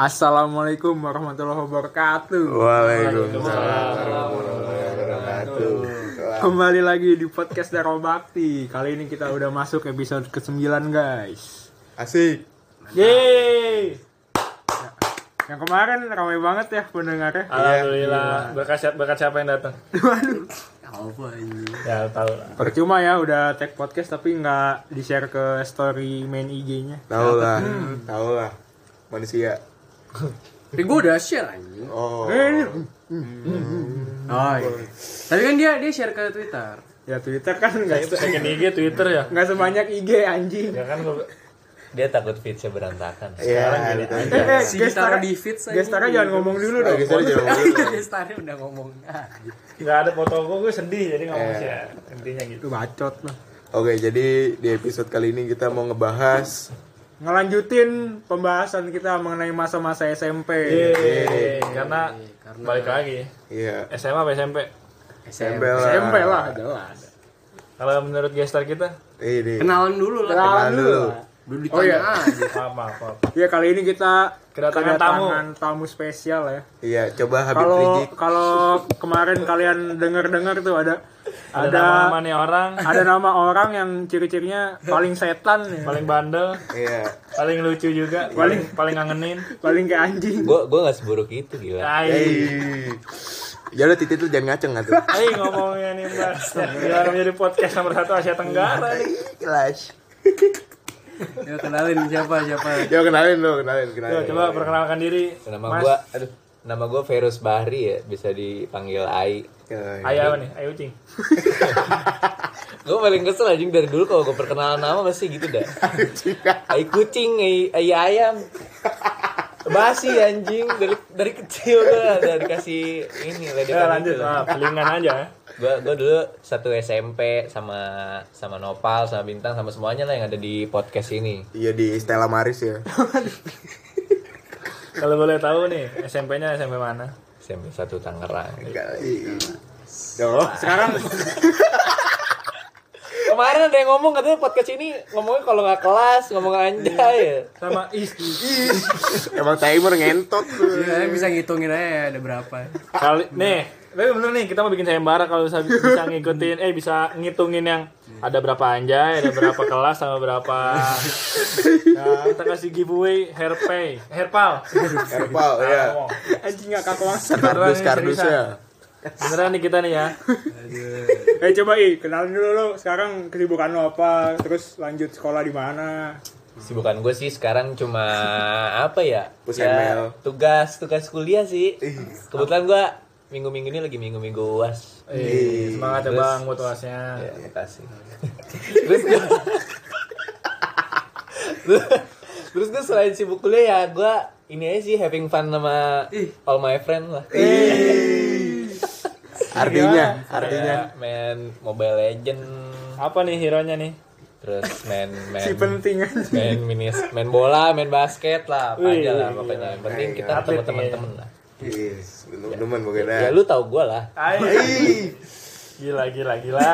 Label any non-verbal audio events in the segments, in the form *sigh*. Assalamualaikum warahmatullahi wabarakatuh. Waalaikumsalam warahmatullahi wabarakatuh. Kembali lagi di podcast Darobakti. Kali ini kita udah masuk episode ke-9, guys. Asik. Yeay! Ya, Yang kemarin ramai banget ya pendengarnya. Ah. Alhamdulillah, berkat siapa, berkat siapa yang datang? Waduh. Ya tahu lah. Percuma ya udah tag podcast tapi nggak di-share ke story main IG-nya. Tahu lah, tahu lah. Manusia. Tapi gue udah share anjing. Oh. Eh, Ah, Oh, iya. Tapi kan dia dia share ke Twitter. Ya Twitter kan nggak Itu se- second IG Twitter ya. nggak sebanyak IG anjing. *laughs* Ya kan gua- dia takut feednya berantakan Iya, gitu aja. Eh, eh, Si Gestara, taruh di feeds aja. Gestara jangan ngomong dulu Ah, dong. Lagi saya *laughs* jangan ngomong. Gestari udah ngomong. Ah, gitu. nggak ada foto gua, gua sedih jadi nggak mau Eh. share. Intinya gitu. Itu bacot lah. Oke, jadi di episode kali ini kita mau ngebahas ngelanjutin pembahasan kita mengenai masa-masa SMP. Iya. Yeay. Karena karena- balik lagi iya, SMA apa SMP? SMP SMP. lah. SMP lah jelas. Kalau menurut gestar kita Ini. Kenalan dulu lah. Kenalan Kenalan dulu. lah. Dulu ditanya Oh, iya. aja. apa apa? apa. Ya kali ini kita Kedatangan tamu spesial ya. Iya, coba Habib Kalau Rizik. kalau kemarin kalian dengar-dengar tuh ada Ada, ada nama nih orang ada nama orang yang ciri-cirinya paling setan ya. paling bandel, Iya. paling lucu juga, paling paling ngangenin. paling kayak anjing. gue gue nggak seburuk itu Iya. gila Hai. Hey. Ya udah titik tuh jangan ngaceng atuh. *laughs* Hai ngomongnya nih Mas. Gila menjadi podcast nomor satu Asia Tenggara. nih. Kelas. Ya, kenalin siapa siapa. Yo kenalin lo, kenalin, Yuk, kenalin. coba perkenalkan diri. nama Mas, gue aduh nama gue Ferus Bahri ya bisa dipanggil Ai Yoi. Ayo apa nih? Ayo Ucing. gue paling kesel anjing dari dulu kalau gue perkenalan nama pasti gitu dah Ai kucing Ai, ai ayam basi anjing dari dari kecil gue udah dikasih Ya ini ledekan lanjut, ah, pelingan aja ya. gue gue dulu satu SMP sama sama Nopal sama Bintang sama semuanya lah yang ada di podcast ini Iya di Stella Maris ya. Kalau boleh tahu nih, SMP-nya SMP mana? SMP satu Tangerang Kali. Yo. Sekarang Kemarin ada yang ngomong katanya podcast ini ngomongnya kalau nggak kelas, ngomong anjay ya. Iya. Sama Is. Emang timer ngentot tuh. Ya, bisa ngitungin aja ada berapa. Kali nih, tapi bener nih kita mau bikin sayembara kalau bisa, bisa ngikutin eh bisa ngitungin yang ada berapa anjay, ada berapa kelas sama berapa. Nah, kita kasih giveaway hairpay, hairpal. Erpal ya. anjing gak kaku banget. Kardus kardus seriusan. ya. Beneran nih kita nih ya. Eh coba i, kenalin dulu lo. Sekarang kesibukan lo apa? Terus lanjut sekolah di mana? Sibukan gue sih sekarang *laughs* cuma apa ya? Pusml. Ya, tugas tugas kuliah sih. Kebetulan gue minggu-minggu ini lagi minggu-minggu uas. Iya. Eh, semangat ya Terus- Bang buat uasnya. Ya, makasih. terus gue *laughs* terus gue selain sibuk kuliah ya gue ini aja sih having fun sama all my friend lah. Ya, Artinya, Iya. artinya. Kayak main Mobile Legend, Apa nih hero-nya nih? terus main main *laughs* Si penting anjing. main minis main bola main basket lah apa Wih, aja lah pokoknya yang penting kita iya, Atlet ya. ketemu nih. teman-teman lah Yes, teman Iya. mungkin ya lu tau gue lah Ayo. Gila gila gila.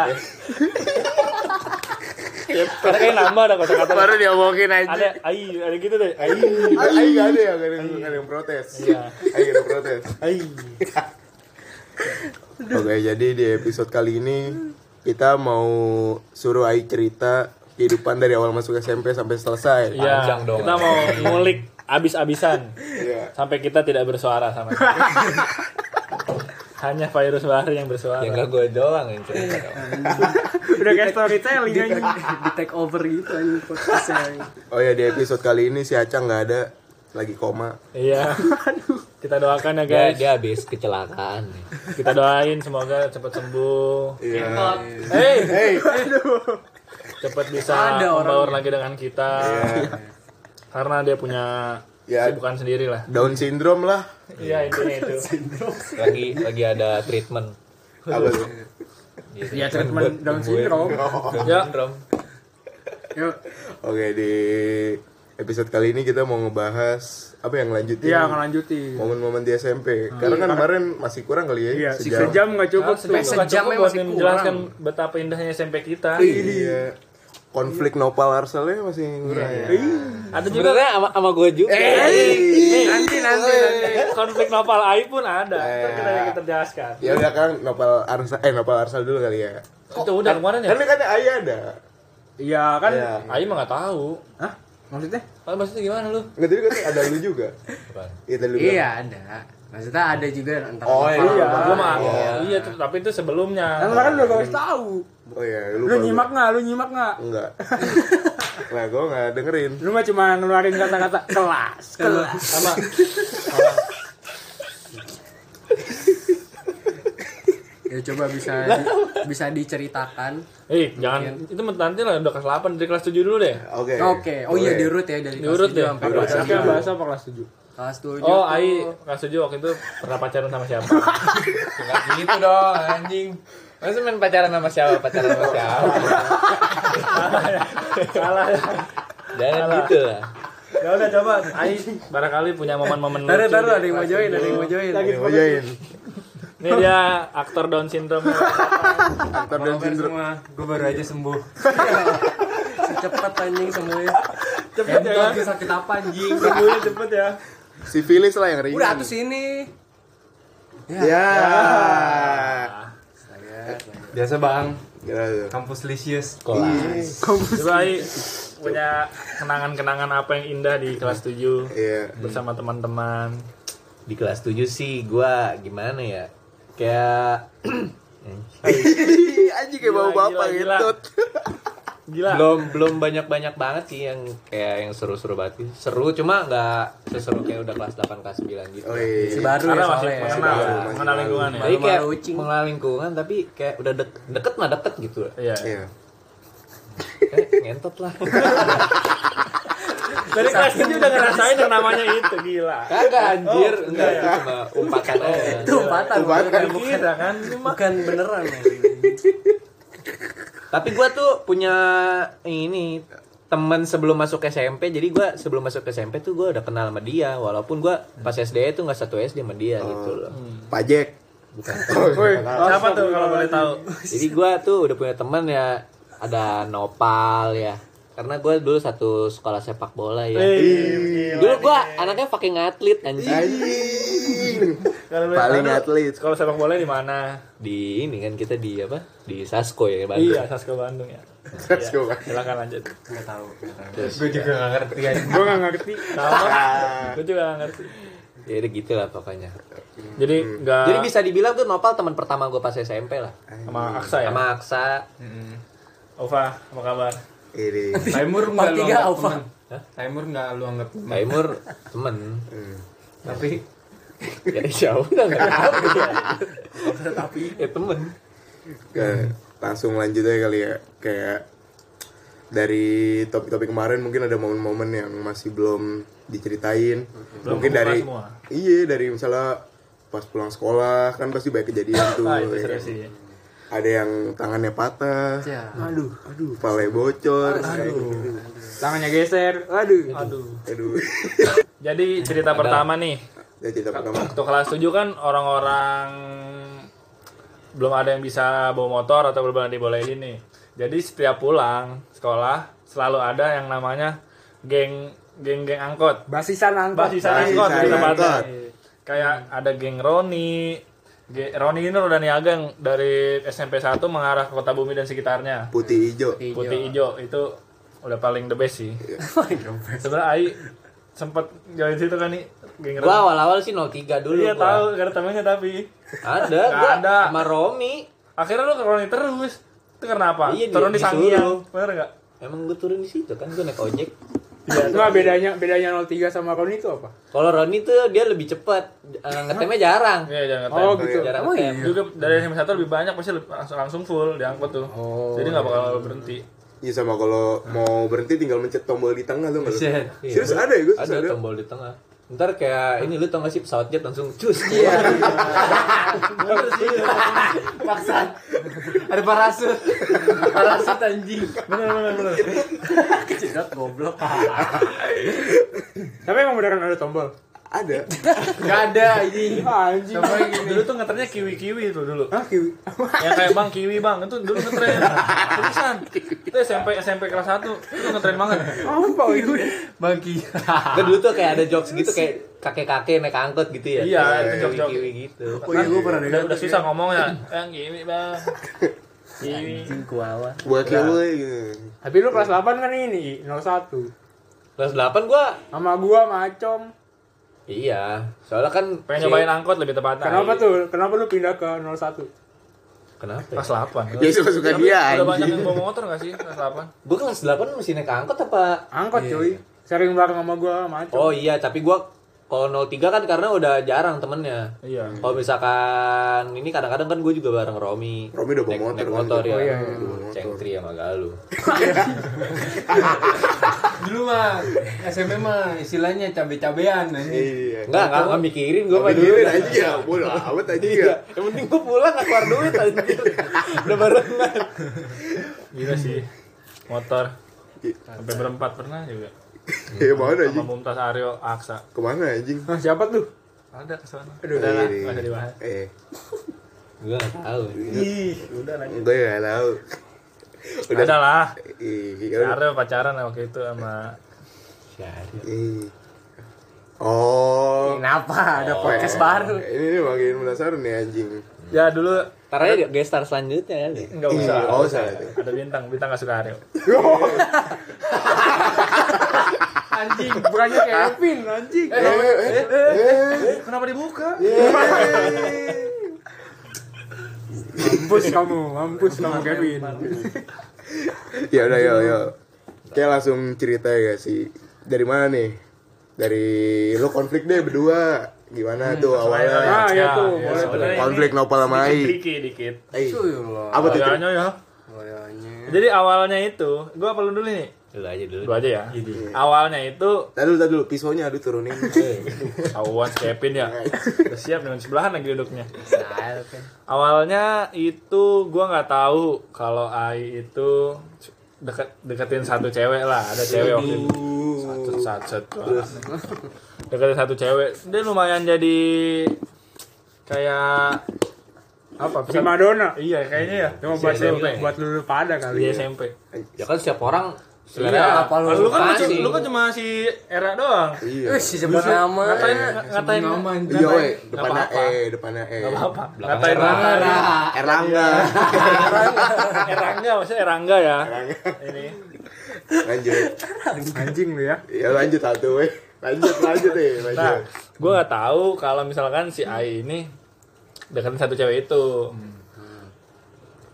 karena kayak nama ada kata-kata Baru diomongin aja. Ada ayo ada gitu deh. Ayo. Ayo gak ada ya, gak ada yang, gak ada yang protes. Iya. Ayo ada protes. Ayo. Oke, jadi di episode kali ini kita mau suruh Ai cerita kehidupan dari awal masuk SMP sampai selesai. Panjang Iya, dong. kita mau ngulik abis-abisan Iya. sampai kita tidak bersuara sama *laughs* sekali. Hanya virus baru yang bersuara. ya nggak gue doang yang cerita dong Udah kayak storytelling Di, anjing. di take over gitu anjing podcastnya. Oh ya di episode kali ini si Acang nggak ada lagi koma. Iya. Kita doakan ya dia, guys. dia habis kecelakaan nih. Kita doain semoga cepat sembuh. Iya. Hey, Hey, cepat bisa Ada orang. membaur lagi dengan kita. Iya. Karena dia punya Ya. kesibukan sendiri lah. Down syndrome lah. Iya, intinya itu. lagi lagi ada treatment Apa tuh? Ya treatment Down syndrome. Ya. Syndrome. Yuk, Oke di episode kali ini kita mau ngebahas apa yang lanjutin Iya, ngelanjutin. momen-momen di SMP. Karena kan kemarin masih kurang kali ya Iya, sejam. sejam nggak cukup Nah, tuh. sejam Sejamnya cukup buat masih menjelaskan betapa indahnya SMP kita. Iya. konflik nopal arselnya masih ngurang Iya, ya. Eh, iya. Ada juga Sebenarnya sama, sama gue juga. Eh, Iya, Iya, Nanti nanti nanti. *laughs* konflik nopal AI pun ada. Ntar kita kita jelaskan. Ya udah kan nopal arsel eh nopal arsel dulu kali ya. Itu udah kemarin ya. Kan dia katanya ayah ada. Iya kan? Iya. AI mah nggak tahu. Hah? Maksudnya? Kan maksudnya gimana lu? Enggak tadi katanya ada lu juga. Iya tadi lu. bilang. Iya ada. Maksudnya ada juga entah Oh, apa. iya. Lu mah Iya. iya tuh, tapi itu Kan sebelumnya. kemarin udah gak tahu. Oh iya, Lu lupa nyimak nggak? Lu nyimak nggak? gua. *laughs* Enggak. Lah gua enggak dengerin. Lu mah cuma ngeluarin kata-kata kelas, kelas. Sama Ya coba bisa bisa diceritakan. Eh, jangan itu nanti lah udah kelas 8 dari kelas 7 dulu deh. Oke. Oke. Oh iya Boleh. diurut ya dari Diurut kelas tujuh ya? sampai Diurut. kelas Tapi Iya. yang bahasa apa kelas 7? kelas tujuh. Oh, tuh. AI kelas 7 waktu itu pernah pacaran sama *laughs* siapa? Enggak gitu dong anjing. Masa main pacaran sama siapa? Pacaran sama siapa? Salah. Jangan gitu lah. Ya udah coba AI barangkali punya momen-momen lucu. Taruh ya, taruh di ada yang mau kelas join, ada tujuh. yang mau join. Lagi dibacain. Ini dia aktor Down syndrome. Aktor dan sindrom. semua. Gue baru aja sembuh. Cepet anjing semuanya. Cepet ya. Entar sakit apa anjing? Sembuhnya cepet ya. Sifilis lah yang ringan. Udah tuh Iya. sini. Ya. Biasa bang, Gila tuh. kampus Lisius. Coba AI punya kenangan-kenangan apa yang indah di kelas 7 *laughs* Iya. bersama teman-teman. Di kelas 7 sih gua gimana ya? Kayak Ih, Anjing kayak Gila, bawa bapak gila, gitu. gila. ngentut. Gila. belum belum banyak-banyak banget sih yang kayak yang seru-seru banget sih. Seru cuma nggak seseru kayak udah kelas 8 kelas 9 gitu. Oh iya. Si baru ya Karena masih soalnya. ya. mengenal, baru, masih mengenal baru. lingkungan ya. Jadi kayak Malu-malu ucing. mengenal lingkungan tapi kayak udah dek- deket mah deket gitu lah. Iya. Iya. Kayak ngentot lah. Dari kelas 7 udah ngerasain yang namanya itu gila. *laughs* Kagak anjir, Oh, enggak ya. itu cuma umpatan aja. Itu umpatan. Umpatan. bukan- Bukan Kira kan ini mah bukan beneran. Tapi gua tuh punya ini temen sebelum masuk SMP jadi gua sebelum masuk SMP tuh gua udah kenal sama dia walaupun gua pas SD tuh nggak satu SD sama dia gitu loh Hmm. Pajek. Woi, Siapa tuh kalau boleh tahu? jadi gua tuh udah punya temen ya ada Nopal ya karena gua dulu satu sekolah sepak bola ya dulu gua anaknya fucking atlet Iya. anjing Anjing. *laughs* Kalau boleh Paling tahu, atlet. Kalau sepak bola di mana? di ini kan kita di apa di Sasko ya Bandung. Iya, Sasko Bandung ya. *laughs* Terus gua kan. Silakan lanjut. Gue juga gak ngerti aja. Gue gak ngerti. Sama. Gue juga nggak ngerti. ya udah gitu lah pokoknya Eh. Jadi enggak jadi bisa dibilang tuh Nopal teman pertama gua pas SMP lah sama Aksa ya. sama Aksa Ova, apa kabar? Ini. Taimur nggak lu tiga anggap Alfa. temen? Taimur nggak lu anggap temen? Taimur temen Iya. Tapi *laughs* ya jauh lah nggak tahu ya. ya temen Ke- langsung lanjut aja kali ya kayak dari topik-topik kemarin mungkin ada momen-momen yang masih belum diceritain mungkin kebuka dari semua. iya dari misalnya pas pulang sekolah kan pasti banyak kejadian tuh Ah, itu ya seru kan? sih. ada yang tangannya patah Ya. aduh aduh pale bocor kayak gitu. Tangannya geser. Aduh. Aduh. aduh Jadi cerita pertama nih. ya cerita pertama Waktu kelas 7 kan orang-orang belum ada yang bisa bawa motor atau belum ada yang dibolehin nih. Jadi setiap pulang sekolah selalu ada yang namanya geng geng-geng angkot. Basisan angkot. Basisan angkot Basisan di tempatnya. angkot. Kayak ada geng Roni. Ge- Roni ini udah niaga yang dari SMP 1 mengarah ke Kota Bumi dan sekitarnya. putih hijau Putih hijau itu udah paling the best sih. Iya. Sebenarnya Ai sempat join situ kan nih geng gua Roni. awal-awal sih 03 dulu Iya gua. tahu gak ada temennya tapi ada Nggak gua ada. sama Romi akhirnya lu ke Roni terus. Itu karena apa? Iya, di- Turun di disuruh. Sangiang. Bener gak? emang gua turun di situ kan gua naik ojek Enggak bedanya bedanya 03 sama Roni itu apa? kalau Roni tuh dia lebih cepet eh, ngetemnya jarang Iya jangan ngetem. Oh gitu. jarang ngetem Juga dari SMP 1 lebih banyak pasti lebih- langsung, langsung full diangkut tuh. Jadi gak bakal berhenti. Iya sama kalau mau berhenti tinggal mencet tombol di tengah tuh Iya. serius ada ya gue ada serius ada tombol di tengah ntar kayak ini lu tau gak sih pesawat jet langsung cus iya Ada parasut. parasut anjing. Bener bener bener. Iya. Kejedot goblok. Tapi emang beneran ada tombol. Ada. Gak ada ini. Anjing. Coba gini. Dulu tuh ngetrennya kiwi-kiwi itu dulu. Ah, kiwi. Yang kayak bang kiwi bang itu dulu ngetren. Tulisan. Itu SMP SMP kelas 1 itu ngetren banget. Apa itu? Bagi. Kan dulu tuh kayak ada jokes gitu kayak kakek-kakek naik angkot gitu ya. Iya, Kayak itu jok-jok. kiwi-kiwi gitu. Oh iya gue pernah Udah, dengar. udah susah ngomongnya. Bang kiwi bang. Kiwi. Kuawa. Buat kiwi gitu. Tapi lu kelas 8 kan ini, 01. Kelas 8 gua Sama gua sama Acom. iya. Soalnya kan Pengen si- nyobain angkot lebih tepatnya. Kenapa tuh? Kenapa lu pindah ke 01? Kenapa? ya? Kelas 8. Ya suka-suka dia Udah banyak anjing. yang bawa motor gak sih kelas 8? Gua kelas 8 mesti naik angkot apa? Angkot cuy. Sering bareng sama gua sama Acom. Oh iya, tapi gua kalau 03 kan karena udah jarang temennya. Iya. Kalau misalkan ini kadang-kadang kan gue juga bareng Romi. Romi udah bawa Naik- motor naik kan? Oh, motor ya. iya, iya. Bawa motor. Cengtri sama Galuh. Dulu mah SMP mah istilahnya cabe-cabean anjing. Iya. Enggak, enggak enggak mikirin gue mah dulu. Pikirin aja ya, bodo amat aja ya. *laughs* Yang penting gue pulang gak keluar duit anjir. *laughs* Udah barengan. Gila sih. Motor. Iya. Sampai berempat pernah juga. Ya mana Sama anjing? Mumtaz Aryo Aksa. Kemana anjing? Nah, siapa tuh? Ada kesana. Aduh, udah Iya, lah. iya. Ada di mana? Eh, Gue gak tau. gue gak tau. Udah. Ada lah. Iya. udah. Aryo pacaran waktu itu sama Syahri. Iya. Oh. Kenapa? Ada Oh. podcast baru. Ini nih makin penasaran nih anjing. Ya dulu Ntar aja dia gestar selanjutnya ya. enggak Iya, usah. oh, salah itu. Ada bintang, bintang gak suka Aryo. Anjing, bukannya Kevin anjing. Eh, eh, eh, eh. Kenapa dibuka? Mampus kamu, mampus kamu Kevin. *laughs* Ya udah ya, ya. Kayak langsung cerita ya guys sih. Dari mana nih? Dari lo konflik deh berdua. Gimana tuh ya. awalnya? Ah, iya tuh, boleh. sebenarnya Konflik ini Nopal sama sedikit Ai. Dikit, dikit. Eh, Tuyulah. apa tuh? Kayaknya ya. Jadi awalnya itu, gua perlu dulu nih. Dulu aja dulu. Dulu aja ya. Iya. Awalnya itu Tadi dulu, tadi dulu, pisaunya aduh turunin. Awan Kevin ya. Udah siap dengan sebelahan lagi duduknya. Nah, Awalnya itu gua nggak tahu kalau Ai itu deket deketin satu cewek lah, ada cewek waktu itu. Satu satu, satu. Deketin satu cewek. Dia lumayan jadi kayak apa? pesan- Prima donna. Iya, kayaknya ya. Cuma buat SMP. lu, buat lu pada Di kali. SMP. Ya kan setiap orang Iya, selera apa lu lu kan kasih. lu kan cuma si Era doang. Iya. Eh, si Iya. sebut nama. Ngatain ngatain Nama anjing. Iya, weh, depannya apa-apa. E, depannya E. Ah, Gak apa-apa. Belakang Ngatain Era. ngatain Erlangga. Erangga, maksudnya Erangga ya. Ini. *laughs* Lanjut. Anjing lu ya. Ya lanjut satu, weh. Lanjut, lanjut deh, Nah, lanjut. gue nggak tahu kalau misalkan si Ai ini deketin satu cewek itu.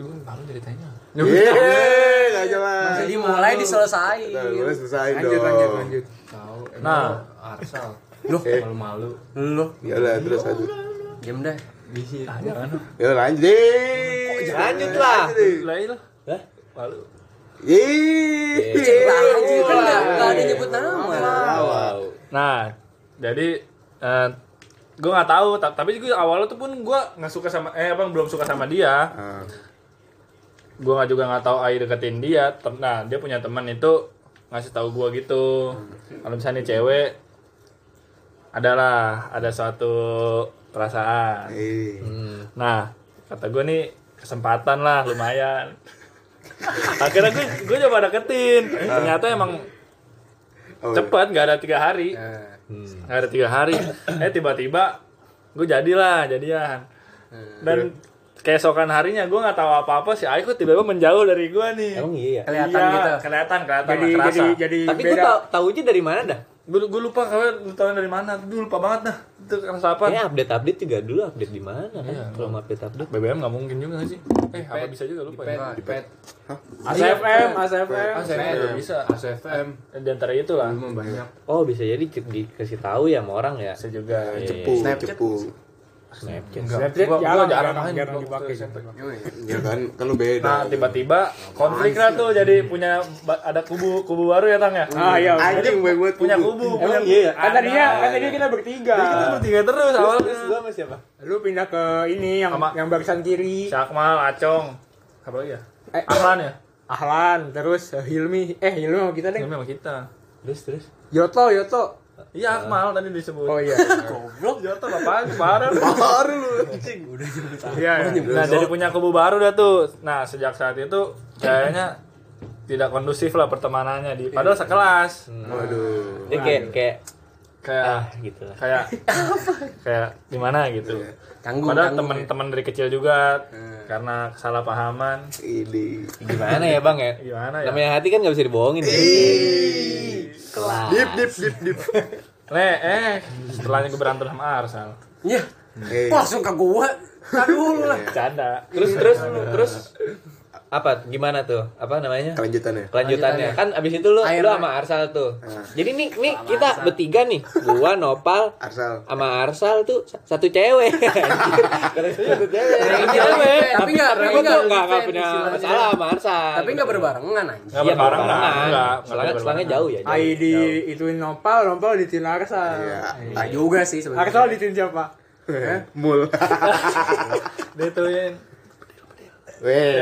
Gue baru ceritanya. Yeay, gak Iya, jelas. Jadi mulai Nah, diselesain. gue selesai Lanjut, dong. lanjut, lanjut. Tahu. Nah. Nah, Arsal. Eh. malu-malu. Lu, Ya udah, terus lanjut. diam dah. Di Ah, jangan. Ya lanjut. Yeay. Lanjut lah. deh. Lah itu. Hah? Lalu Yeay. Anjing, kan nggak- nggak ada nyebut nama. Wow. Nah, jadi eh gue nggak tahu, ta- tapi gue awalnya tuh pun gue nggak suka sama eh abang belum suka sama dia. Ah, Gue nggak juga nggak tahu Ai deketin dia. Tem- Nah, dia punya teman itu ngasih tahu gue gitu. Kalau misalnya nih cewek adalah ada suatu perasaan. eh. Hmm. Nah, kata gue nih kesempatan lah lumayan. *laughs* Akhirnya gue gue coba deketin. Ternyata emang Oh, cepet, nggak ada tiga hari, nggak ada tiga hari. Eh tiba-tiba gue jadilah jadian. Dan keesokan harinya gue nggak tahu apa-apa si Aiko tiba-tiba menjauh dari gue nih. Emang iya. ya? Kelihatan Iya, gitu. Kelihatan, kelihatan. Jadi lah, jadi kerasa. jadi Tapi gue beda. tau taunya dari mana dah? gue gue lupa kalian lu tahu dari mana? Gue lupa banget dah. Itu kerasa apa? Kayaknya Eh, update-update juga dulu update di mana kan? Kalau mau update-update BBM nggak mungkin juga nggak sih. Eh, apa bisa juga lupa ya? pet, pet. ACFM, ACFM. Saya udah bisa. ASFM. Dan antara itu lah. Hmm. Belum banyak. Oh bisa jadi di- dikasih tahu ya sama orang ya. Bisa juga. Iya, Cepu, cepu. Snapchat. Snapchat jarang, Gua- gua jarang jarang, main, jarang gua dipakai. waktu Ya kan, kan lu beda. Ah, Nah, tiba-tiba konflik lah tuh jadi punya ba- ada kubu kubu baru ya Tang ya. Ah, iya. Anjing gue buat Punya kubu, punya Emang kubu. iya, kan Ada. tadinya kan tadinya kita bertiga. Kita bertiga terus awalnya. Terus gua sama siapa? Lu pindah ke ini yang Sama- yang barisan kiri. Si Akmal, Acong. Apa lagi ya? Eh, Aklan ya? Ahlan, terus eh, Hilmi. Eh, Hilmi sama kita deh. Ini memang kita. Terus terus. Yoto, Yoto. Iya Akmal tadi disebut. Oh iya. Goblok Jota apaan? Parah. Baru lu. Iya, iya. *laughs* Nah, dari punya kubu baru dah tuh. Nah, sejak saat itu kayaknya tidak kondusif lah pertemanannya di padahal sekelas. Waduh. Dia kayak kayak ah Kayak gitu lah. kayak kayak gimana gitu. Tanggung, Padahal tanggung ya. teman-teman dari kecil juga karena kesalahpahaman Ini. Gimana ya bang ya? gimana ya? Namanya hati kan nggak bisa dibohongin. ya. Kelas. Dip dip dip dip. Le, eh setelahnya gue berantem sama Arsal. Iya. Hmm. Eh, Wah, langsung ke gua. Aduh lah. iya. Canda. Terus terus terus apa gimana tuh? Apa namanya? kelanjutannya. Kelanjutannya kan abis itu lu Air lu lah. sama Arsal tuh. Ah. Jadi nih nih kita bertiga nih, gua Nopal Arsal. sama Arsal tuh sa- satu cewek. *laughs* satu cewek. Iya, Satu Iya. cewek. Tapi nggak- karena tapi nggak gua tuh nggak nggak defend punya istilahnya. masalah sama Arsal. Tapi enggak berbarengan anjing. Enggak Iya, berbareng barengan. lah. Enggak, Selangnya selangnya jauh ya. jauh. Ai di ituin nopal, nopal ditin Ah. Iya. Arsal. Enggak juga sih sebenarnya. Arsal ditin siapa? *laughs* Mul. Dituin. Weh.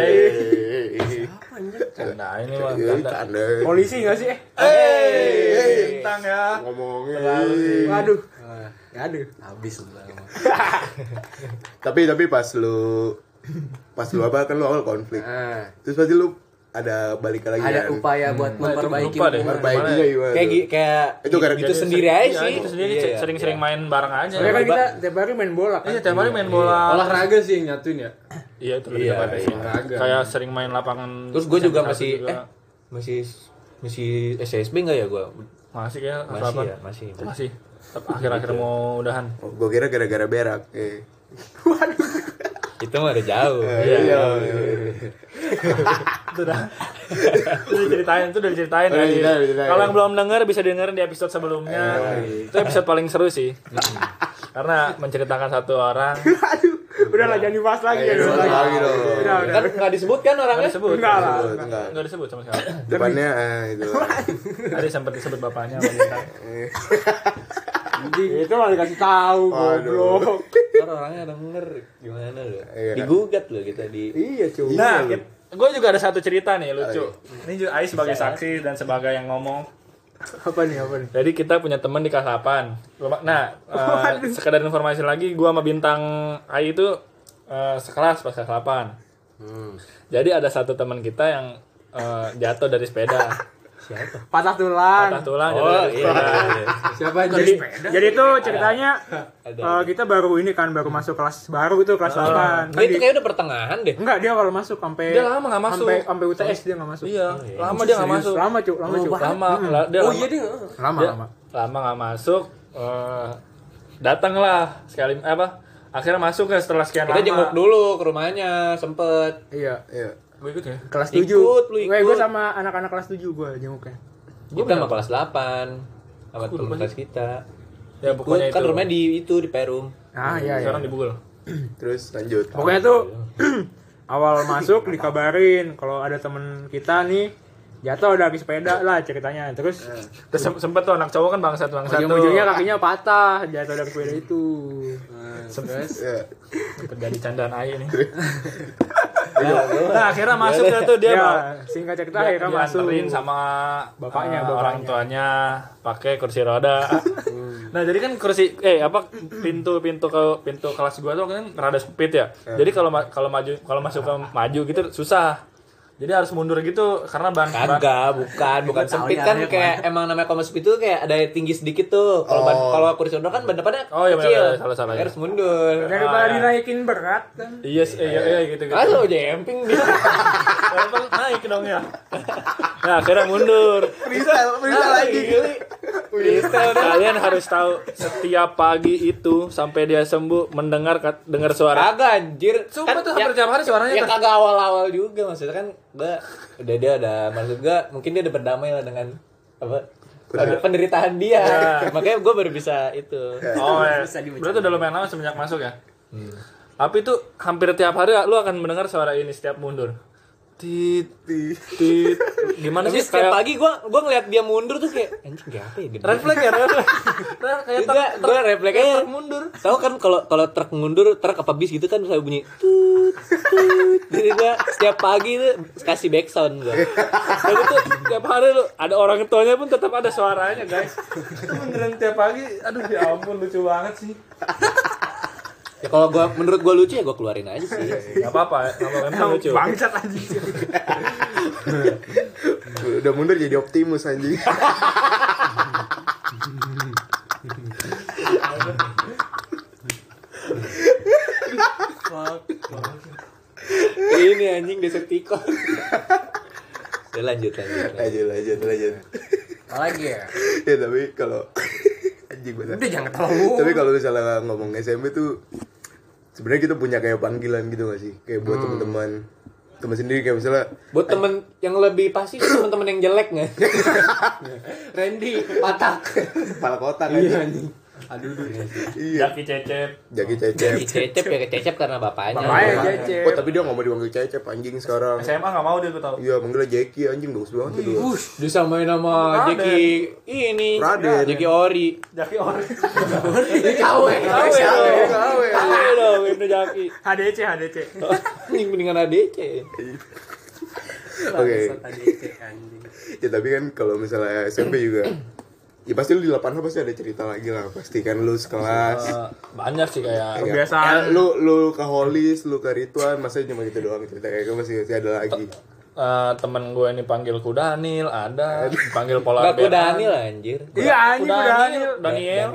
Nah, ini Oh, mah Iya, canda. Canda. Polisi nggak sih? Eh, Eh, bintang ya. ngomongin. Waduh. Aduh. Iya. Habis lu. Tapi tapi pas lu pas lu apa kan lu awal konflik. Ah. Nah, Terus pasti lu ada balikan lagi ada kan? upaya buat memperbaiki lupa deh. hubungan. Perbaikinya gimana? Kayak gi- kayak Itu gara- gitu sendiri aja Iya, sih. Itu sendiri Iya, c- iya. sering-sering main bareng aja. Soalnya kan kita tiap hari main bola kan. Iya, tiap hari main bola. Olahraga sih yang nyatuin ya. Iya, itu lebih Iya, tepatnya sih. Kayak sering main lapangan. Terus gue juga Champions masih juga. eh masih masih SSB enggak ya gue? masih ya, Masih ya, masih. Masih. Tetap akhir-akhir mau udahan. Oh, gua kira gara-gara berak. Eh. Itu mah udah jauh. Eh, Iya. Itu dah. itu *laughs* udah diceritain, itu udah diceritain. Eh, iya. Udah tadi. diceritain, udah diceritain. Kalau yang belum denger bisa denger di episode sebelumnya. Itu episode paling seru sih. Karena menceritakan satu *laughs* orang Aduh, udah lah jangan dibahas lagi ya. Ayo, Udah, lagi dong. udah, udah. Kan nggak disebut kan nggak orangnya? disebut. Enggak lah. Tuh, enggak. Nggak disebut sama sekali. Depannya eh, *laughs* itu. Tadi sempat disebut bapaknya wanita. Itu malah dikasih tahu, Waduh. goblok. Ntar orangnya denger gimana lu? Eh, Iya. Digugat lu kita di Iya, cuy. Nah, gue juga ada satu cerita nih lucu. Ini juga Ais sebagai saksi dan sebagai yang ngomong. Apa nih, apa nih? Jadi kita punya teman di Kasapan. Rumah- Nah, eh, sekedar informasi lagi, gua sama bintang Ai itu eh, sekelas pas Kasapan. Jadi ada satu teman kita yang eh, jatuh dari sepeda, Patah tulang. patah tulang. jatuh Oh dari iya. sepeda. iya. Siapa aja? Jadi, jadi itu ceritanya Ada. eh, kita baru ini kan baru masuk kelas baru itu Ah. kelas 8. Kan Dia itu kayak udah pertengahan deh. Enggak, dia kalau masuk sampai Dia lama nggak masuk. Sampai sampai UTS Eh, dia enggak masuk. Iya, lama dia nggak masuk. Lama, cuy. Lama, cuy. Lama, la- dia Oh lama- iya dia. Lama, dia lama. lama nggak masuk. eh, datanglah sekali apa? Akhirnya masuk ya setelah sekian Kita lama. jenguk dulu ke rumahnya sempet. Iya. Iya. Gue ikut ya. Kelas 7. Ikut, lu ikut. gue sama anak-anak kelas 7 gue jenguknya. Kita sama kelas 8 sama teman kelas kita. Ya pokoknya kan itu. rumahnya di itu di Perum. Ah, iya, iya. Hmm, Sekarang dibukul. Terus lanjut. Pokoknya tuh *clears throat* awal masuk dikabarin kalau ada temen kita nih jatuh dari sepeda lah ceritanya. Terus Terus sem- sempet tuh anak cowok kan bangsat bangsat tuh. ujung-ujungnya kakinya patah jatuh dari sepeda itu. Iya. Sempet jadi candaan Ai ini. nah *laughs* akhirnya masuk dah tuh dia Ya, bawa- singkat cerita dia akhirnya masuk. dianterin sama Bapaknya, eh, bapaknya. orang tuanya pakai kursi roda. *laughs* nah jadi kan kursi eh apa pintu pintu ke pintu kelas gua tuh kan rada sempit ya. Jadi kalau ma- kalau maju kalau masuk ke maju gitu susah. Jadi harus mundur gitu karena ban, ban Kagak, bukan, bukan sempit kan kayak emang namanya kalau masuk itu kayak ada yang tinggi sedikit tuh. Kalau ban- Oh. kalau kursi roda kan ban depannya Oh, iya, kecil. benar, salah, salah, Harus mundur. Daripada Ah, ya. dinaikin berat kan. Iya, sih, iya, iya gitu gitu. Ah, lo jumping *laughs* dia. Level naik dong ya. *laughs* Nah, akhirnya mundur. Freestyle, freestyle lagi. Freestyle. Kalian harus tahu setiap pagi itu sampai dia sembuh mendengar kat- dengar suara. Kagak anjir. Sumpah Kan tuh ya- hampir tiap hari suaranya Ya tuh. kagak awal-awal juga maksudnya kan gua udah dia udah maksud gua mungkin dia udah berdamai lah dengan apa penderitaan dia. Iya. Makanya gua baru bisa itu. Oh, ya. berarti udah lumayan lama semenjak Hmm. masuk ya. Tapi itu hampir tiap hari lu akan mendengar suara ini setiap mundur. tit tit gimana Tapi sih setiap kayak pagi gue gua ngeliat dia mundur tuh kayak anjing gak apa ya gede. red flag ya red flag Red- kayak Juga truk- gue truk- refleks kayak aja. truk mundur Tahu kan kalau kalau truk mundur, truk apa bis gitu kan selalu bunyi tut tut. Jadi gue setiap pagi tuh kasih back sound gue. Tapi tuh tiap hari lu ada orang tuanya pun tetap ada suaranya guys. Itu beneran tiap pagi. Aduh ya ampun lucu banget sih. Ya kalau gua menurut gue lucu ya gue keluarin aja sih. Gak apa-apa, nggak apa-apa emang lucu. Bangsat anjing. Udah mundur jadi optimus anjing. *laughs* Ini anjing Decepticon. Ya lanjut lanjut. lanjut. lanjut lanjut lanjut. Apalagi ya. ya tapi kalau *laughs* anjing bener. Udah jangan tahu. Tapi kalau misalnya ngomong SMP tuh sebenarnya kita punya kayak panggilan gitu gak sih? Kayak Hmm. buat teman-teman teman sendiri kayak misalnya Buat temen yang lebih pasti temen-temen yang jelek nggak? Randy patak. kepala kotak aja. Iya, Aduh, aduh. Iya. Jaki cecep. Jaki Jadi cecep. cecep ya cecep karena bapaknya. Bapaknya. Iya, Cecep. Oh, tapi dia gak mau dipanggil cecep anjing sekarang. SMA gak mau dia gue tau. Iya, manggilnya Jackie anjing bagus banget itu. Disamain sama Jeki ini, Raden. Jeki Ori. Jaki orang. Kawe, kawe, Kawe. kawe dong, Ibnu Jaki. HDC *laughs* HDC. Ini mendingan ADC. Oke. Tadi kayak anjing. *laughs* Ya tapi kan kalau misalnya SMP juga Ya pasti lu di lapangan pasti ada cerita lagi lah Pasti kan lu sekelas Banyak sih kayak. kebiasaan. Eh, Lu, lu ke Holis, lu ke Rituan Masa cuma gitu doang cerita kayak masih, masih ada lagi eh, temen gue ini panggil ku Daniel ada panggil pola Enggak ku Daniel anjir. Iya anjing Ku udah Daniel. Daniel Daniel Iya.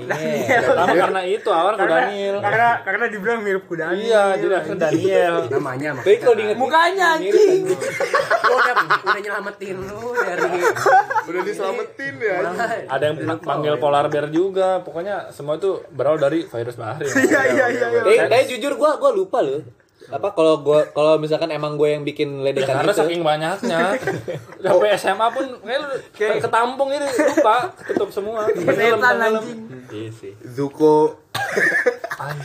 Daniel. pertama karena itu awal ku Karena, Daniel karena karena dibilang mirip kuda. iya jadi akhirnya Daniel Namanya mah. Tapi kalau diinget Mukanya mirip, kan? anjing. Iya. mirip, Lu udah udah nyelamatin lu dari Iya. Udah diselamatin ya malah ada yang pernah panggil polar bear juga pokoknya semua itu berawal dari virus bahari Iya iya iya. iya. Eh, tapi jujur gua gua lupa loh. Apa kalau gua kalau misalkan emang gua yang bikin ledekan gitu. karena itu. saking banyaknya sampai SMA pun kayak lu kayak ketampung ini lupa ketutup semua Setan, Tenggelam-tenggelam. anjing. Iya sih. Zuko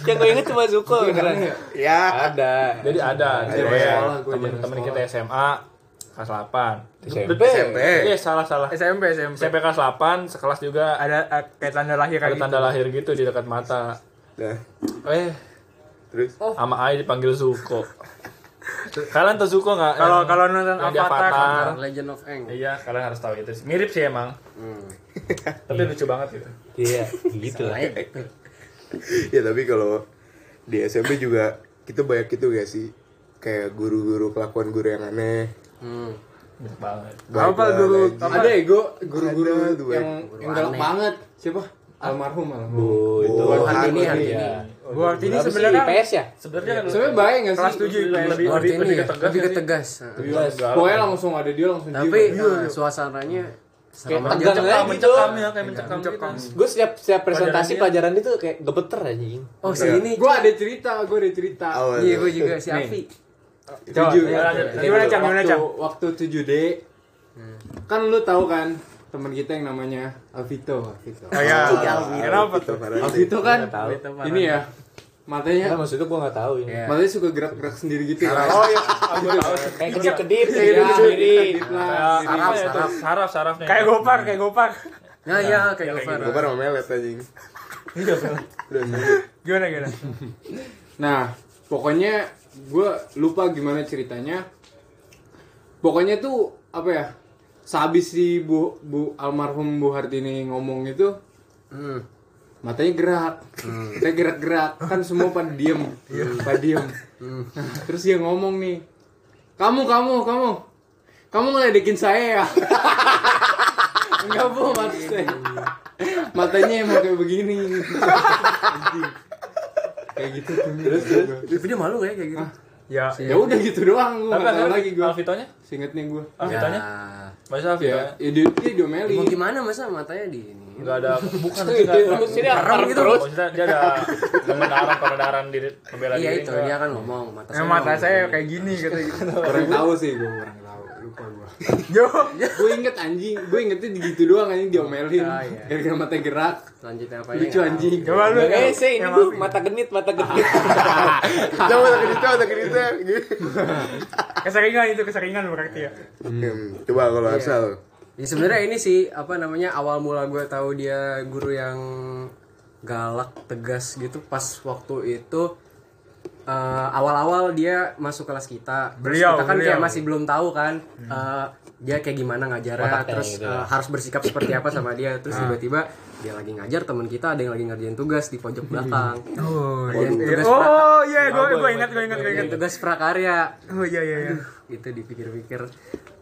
Yang gua inget cuma Zuko beneran. Ya Ada. jadi ada Ada ya. temen-temen kita SMA kelas 8 SMP. SMP Iya salah salah SMP SMP. SMP kelas 8 sekelas juga Ada eh, kayak tanda lahir ada kayak gitu. tanda lahir gitu di dekat mata Nah eh terus sama Ai dipanggil Zuko kalian tuh Zuko nggak Kalau Yang- kalau nonton yang di Avatar, kan? Avatar. Nah, Legend of Aang. iya kalian harus tahu itu sih. mirip sih emang *laughs* tapi lucu banget gitu Iya, gitu Nah, lah. Ya tapi kalau di SMP juga kita banyak gitu gak sih Kayak guru-guru kelakuan guru yang aneh Hmm. mirip banget Banyak Apa banget, guru? anjing. Apa? gitu. Ada ya gua Ada guru-guru tuh, yang yang galak banget. Siapa? Almarhum almarhum. Oh, itu. Oh, Hartini, Hartini. Iya. Gua arti ini Berapa sih sebenarnya kan- IPS ya? sebenarnya kan Sebenarnya baik enggak sih? kelas 7 IPS. lebih Gua lebih artiin lebih ya, ketegas lebih ya sih. ketegas. Pokoknya langsung ada dia langsung iya, Tapi jiwa. eh, suasananya serem Kayak aja. tegang eh? Mencekam, lagi mencekam dong. ya kayak mencekam gitu. Gue Iya, setiap setiap presentasi pelajaran itu kayak gebeter anjing. Oh, segini. Gua ada cerita, gua ada cerita. Awal. Iya, gua juga si Afi. Coba, Tujuh. ayo lanjut. Gimana Cang? Gimana waktu, Cang? waktu 7D Hmm. kan lu tahu kan teman kita yang namanya Alvito Alvito Oh iya. Kenapa Gitu, tuh? parah. Alvito kan ini ya Nah, matanya maksudnya gue gak tahu ini. Iya. matanya suka gerak-gerak sendiri gitu ya Oh iya, Kayak kedip-kedip Iya, sendiri. kedip lah. Saraf, saraf. saraf sarafnya Kayak gopar, kayak gopar. Nah, ya kayak Gofar. gue pernah kan melet anjing. Udah, Gimana gimana? Nah, pokoknya gue lupa gimana ceritanya. Pokoknya tuh apa ya? Sehabis si Bu, Bu almarhum Bu Hartini ngomong itu, Hmm. matanya gerak, Matanya gerak-gerak kan semua pada diem, Iya. pada diem. Hmm. Nah, terus dia ngomong nih, kamu kamu kamu, kamu ngeledekin saya ya? *laughs* Enggak bu, maksudnya. matanya emang kayak begini. Anjing. kayak gitu tuh. Terus Tapi dia malu kayak kayak gitu. Ya. ya udah gitu doang gue tapi Ah. nggak tahu akhirnya lagi Ya. gue Alvitonya seingetnya gue Alvitonya Ya. bahasa Alvito Iya, ya, ya dia dia diomelin Mau gimana masa matanya di ini? nggak ada bukan Sini akar gitu. *laughs* terus. maksudnya dia ada pembenaran pembenaran diri pembela Iya diri itu gua. dia kan ngomong mata Eh, saya. mata ngomong. saya kayak gini kata gitu. Kurang tahu sih gue, kurang tahu. Lupa gue. Yo. gue inget anjing, gue ingetnya gitu doang anjing diomelin. Ah, iya. Gara-gara mata gerak. Lanjutnya apa ya? Lucu anjing. Coba Iya, lu. Eh, saya ini yang bu, apa? mata genit, mata genit. Coba tak cerita, tak cerita. Keseringan itu keseringan berarti ya. Hmm, Coba kalau asal. Ya sebenarnya ini sih apa namanya awal mula gue tahu dia guru yang galak tegas gitu pas waktu itu eh, awal-awal dia masuk kelas kita Terus Beliau, kita kan kayak beliau. Hmm. masih belum tahu kan eh, dia kayak gimana ngajarnya Otaknya terus gitu eh, harus bersikap seperti apa sama dia Ah. terus tiba-tiba dia lagi ngajar teman kita ada yang lagi ngerjain tugas di pojok belakang Oh, Ngerjain tugas pra- Oh iya, gue gue ingat gue ingat gue ingat. ngerjain tugas prakarya Oh iya iya. iya. gitu dipikir-pikir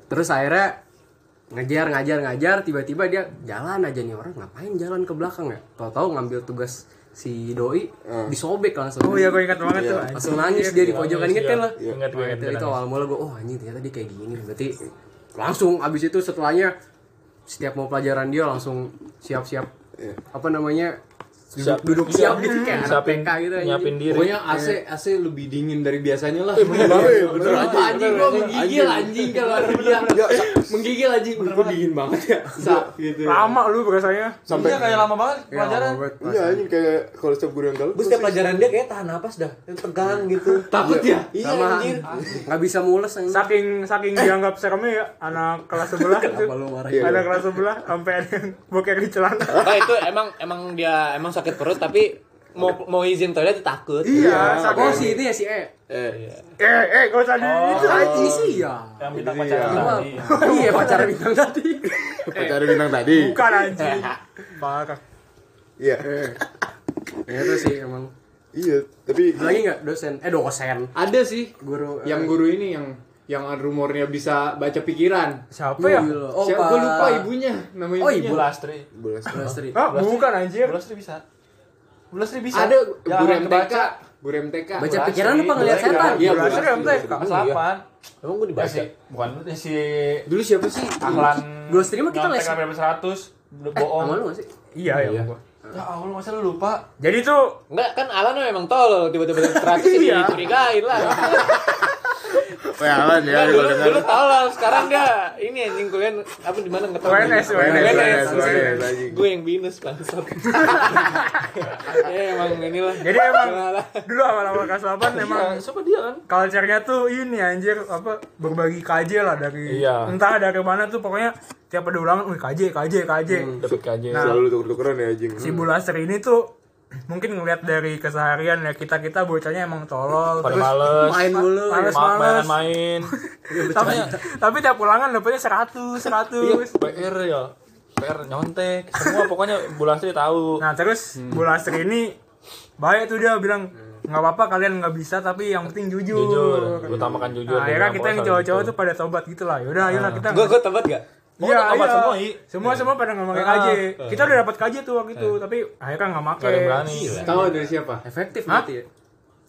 terus akhirnya ngejar ngajar ngajar tiba-tiba dia jalan aja nih orang ngapain jalan ke belakang ya tahu-tahu ngambil tugas si doi Hmm. disobek langsung Oh iya gue ingat banget tuh. langsung nangis dia di pojokan inget kan lah Iya, Ingat gue ingat itu, itu awal mula gue oh anjing ternyata dia kayak gini berarti langsung abis itu setelahnya setiap mau pelajaran dia langsung siap-siap apa namanya Iya. Siap. duduk siap gitu kayak anak siapin TK gitu anjing. Hmm. nyiapin diri Pokoknya AC AC lebih dingin dari biasanya lah. Iya, *laughs* bener. Kenapa anjing gua menggigil anjing kalau ada dia Iya, menggigil anjing gua dingin banget ya. Sa gitu. Lama lu berasanya. Sampai kayak lama banget Ya, Robert, Iya anjing kayak kalau setiap guru yang galak. Gue Iya. setiap pelajaran dia kayak tahan napas dah, tegang gitu. Takut ya? Iya sama anjir. nggak bisa mules anjing. Saking saking dianggap seremnya ya anak kelas sebelah itu. Apa lu Iya, marah? Anak kelas sebelah sampai ada yang boker di celana. Nah, itu emang emang dia emang sakit perut tapi mau mau izin toilet tuh takut. Iya, Oh saking. si itu ya si E. Eh, eh, gak usah di Oh. itu aja. Ini sih iya. ya. yang bintang pacaran tadi Iya pacar bintang *laughs* tadi. Pacar bintang tadi. Bukan anjing. Parah. Iya. Ya itu sih emang. Iya, tapi Lagi nggak dosen? Eh dosen. Ada sih Guru. eh, yang guru ini yang yang ada rumornya bisa baca pikiran. Siapa gila. ya? Oh Siapa Pak- gua lupa ibunya namanya. Oh, ibunya. ibu. Bulastri bola sepak. Lestri. Ah, bukan anjir. Bulastri bisa Bulastri bisa Ya, Ada Jangan guru MTK, kebaca. guru MTK. Baca pikiran apa ngeliat setan? Iya, Bulan Bulastri. serem teh. kelas 8 Emang gue Ya dibaca. sih, bukan ya si Dulu siapa sih? Ahlan Gua stream mah kita les. berapa seratus Sama bohong lu nggak sih? Iya, ya gua. ya Allah masa lu lupa Jadi tuh Enggak, kan Alan emang *laughs* tolol tiba-tiba terakhir sih Iya. dicurigain lah. Wah, Alan ya Iya, Enggak, kalau dulu dengar. dulu tolol, sekarang dia ini anjing kuliah apa di mana ngetol. WNS, WNS, WNS, WNS, WNS. WNS, anjing. Gue yang binus *laughs* bangsat. ya emang inilah. jadi emang dulu awal-awal kelas Iya. 8 emang siapa dia kan culture-nya tuh ini anjir apa berbagi KJ lah dari Iya. entah dari mana tuh pokoknya tiap ada ulangan wih KJ KJ KJ dapet kaje Nah. Selalu tuker-tukeran ya anjing. si Hmm. Bulaster ini tuh mungkin ngelihat dari keseharian ya kita kita bocahnya emang tolol pada terus males Main dulu. males males *laughs* main-main Iya, tapi tapi tiap ulangan dapetnya 100 100 PR ya PR nyontek semua pokoknya Bulastri tahu nah terus Hmm. Bulaster ini baik tuh dia bilang nggak apa-apa kalian nggak bisa tapi yang penting jujur, jujur utamakan jujur Nah, Ah. akhirnya kita yang cowok-cowok tuh pada tobat gitu lah yaudah ayolah kita Iya, Gue gue tempat gak? Oh, tobat semua, I. semua semua pada nggak pakai KJ kita udah dapat KJ tuh waktu itu tapi akhirnya nggak Iya, pakai gak ada yang berani Iya. Tahu dari siapa? Efektif berarti ya.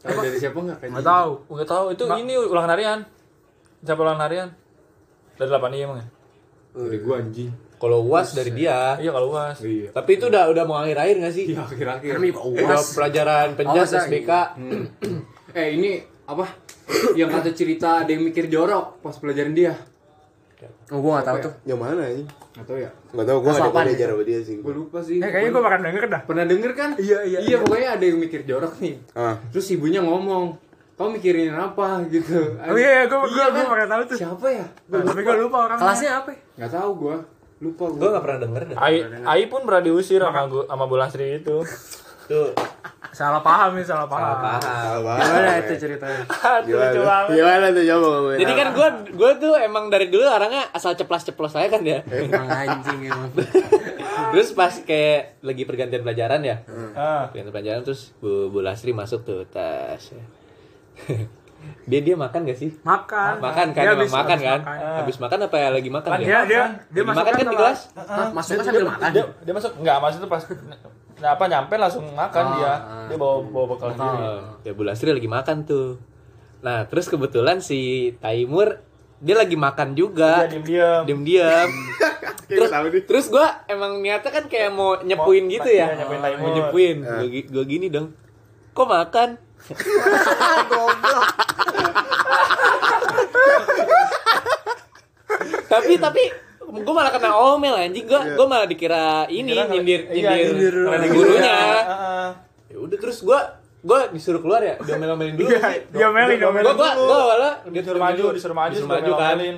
Tahu dari siapa enggak kayaknya? nggak tahu Gak tahu itu ini ulangan harian siapa ulangan harian dari 8 iya emang ya Dari gua anjing. Kalau uas dari dia. iya kalau uas Iya. Tapi itu udah udah mau akhir-akhir gak sih? Iya, akhir-akhir. Oh, Kami Pak Udah Uwas. pelajaran penjas Awas, ya. SBK. Eh, ini apa? yang kata cerita ada yang mikir jorok pas pelajaran dia. Oh gue nggak ya? tahu tuh. Yang mana anjing? Atau ya? Enggak tahu gua ada Kelas delapan. belajar sama dia sih. Gue lupa sih. eh, kayaknya gue bakal denger dah Pernah denger kan? Iya, iya, Iya, pokoknya ada yang mikir jorok nih. Ah. Terus ibunya ngomong, "Kau mikirin apa?" gitu. oh iya gue gue gue kan? bakal tahu tuh Siapa ya? Nah, tapi gue lupa orangnya Kelasnya apa? Oh, ya? Enggak tahu gua. Lupa Gue gua. gak pernah denger dah. Ai, Ai pun pernah diusir sama gua- sama Bulastri itu. Tuh. salah paham ya salah paham Gimana ya. itu ceritanya? Aduh, lucu Gimana? banget. Gimana tuh Iya. coba ngomongin Jadi kan gue gue tuh emang dari dulu orangnya asal ceplas-ceplos aja kan ya. Eh. Emang anjing emang. *laughs* terus pas kayak lagi pergantian pelajaran ya. Hmm. Ah. Pergantian pelajaran terus Bu, Bu Lasri masuk tuh tas. *laughs* dia dia makan gak sih? makan Makan kan, Dia emang habis- makan habis kan? Habis makan apa ya lagi makan? dia dia dia Lagi makan kan di kelas. kelas? Hah, Masuknya sambil makan. Dia, dia masuk enggak masuk tuh pas nah, apa nyampe langsung makan dia. Dia bawa bawa bekal sendiri. Oh, ya Bu Lasri lagi makan tuh. Nah, terus kebetulan si Taimur dia lagi Dia makan juga. diem-diem. *laughs* Diam-diam. terus, tahu nih. terus gue emang niatnya kan kayak mau nyepuin gitu ya nyepuin Iya. mau nyepuin gue gini dong kok *laughs* makan tapi tapi gue malah kena omel anjing gue gue malah Iya. dikira ini nyindir nyindir karena gurunya ya udah terus gue gue disuruh keluar ya diomel-omelin dulu Iya, *laughs* Dia melin dong. gue gue gue awalnya gitu, Disuruh maju, disuruh maju, disuruh disuruh maju kan diomelin.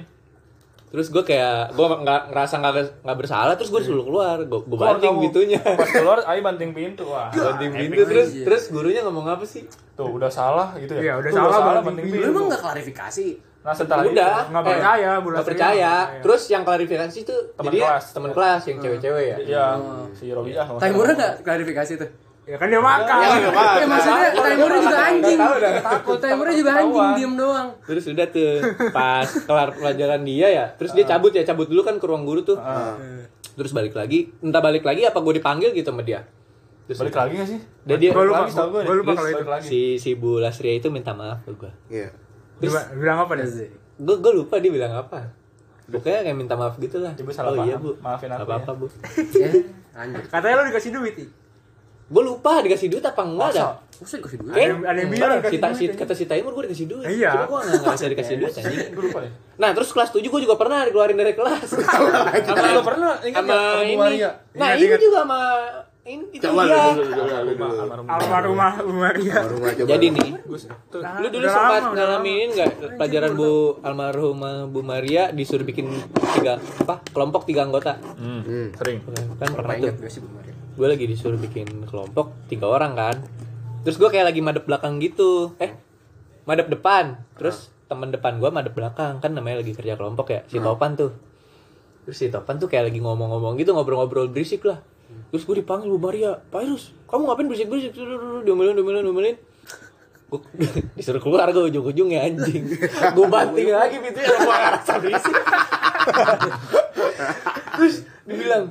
terus gue kayak gue nggak ngerasa nggak nggak bersalah terus gue disuruh keluar gue gue Keluar banting kamu. pintunya *laughs* Pas keluar, ayo banting pintu. Wah, banting pintu terus terus gurunya ngomong apa sih tuh udah salah gitu ya. Iya, udah Tuh, salah, banting banting pintu. Lu pintu. emang gak klarifikasi? Nah, setelah itu, udah nggak eh, percaya, Bu nggak Lastri. Nggak percaya percaya. terus yang klarifikasi tuh Iya. Teman jadi ya, kelas. teman kelas yang cewek-cewek ya Iya, si Robiah. kalau nggak Taimura salah. gak klarifikasi tuh? Ya kan dia makan. Ya maksudnya Taimura juga anjing tahu dah. Takut Taimura juga anjing, diem doang terus udah tuh pas kelar pelajaran dia ya terus Ah. dia cabut ya cabut dulu kan ke ruang guru tuh terus balik lagi entah balik lagi apa gue dipanggil gitu sama dia terus Balik lagi gak sih? dan dia Gua lupa, lagi tau gua gua lupa deh. kalau itu. Balik lagi. si si Bu Lastria itu minta maaf ke gue Iya. Coba, bilang apa deh? gue gue lupa dia bilang apa pokoknya kayak minta maaf gitu lah Ibu Ya, salah oh iya paham. bu Maafin aku apa apa bu Ya, anjing Katanya lu dikasih duit, Ti. gue lupa dikasih duit apa enggak dah Masa dikasih duit? Eh, yang- ada yang bilang dikasih Sita- duit, Sita- kata si Taimur gue dikasih duit. Iya. ya. Cuma gue nggak ngerasa dikasih *laughs* duit anjing. Gue lupa deh. Nah, terus kelas 7 gue juga pernah dikeluarin dari *laughs* kelas. Tapi kan. lu pernah ingat sama nggak sama Bu ini. Maria? Nah, Ingat, ini ingat. juga sama ini itu Coba lu dia. dulu, dulu, dulu, dulu. Almarhum. Almarhumah Umaria. Rumah coba. Jadi nih, Nah, lu dulu udah sempat lama, udah ngalamin nggak pelajaran Bu almarhumah Bu Maria disuruh bikin tiga apa kelompok tiga anggota Hmm. Sering. kan pernah tuh Ingat gak sih Bu Maria? gue lagi disuruh bikin kelompok tiga orang kan terus gue kayak lagi madep belakang gitu eh madep depan terus temen depan gue madep belakang kan namanya lagi kerja kelompok ya si topan tuh terus si topan tuh kayak lagi ngomong-ngomong gitu ngobrol-ngobrol berisik lah terus gue dipanggil Bu Maria Virus kamu ngapain berisik-berisik Dulu, dulu, diomelin diomelin diomelin gue *laughs* disuruh keluar gue ujung-ujungnya anjing gue banting lagi pintunya gue ngerasa berisik terus dibilang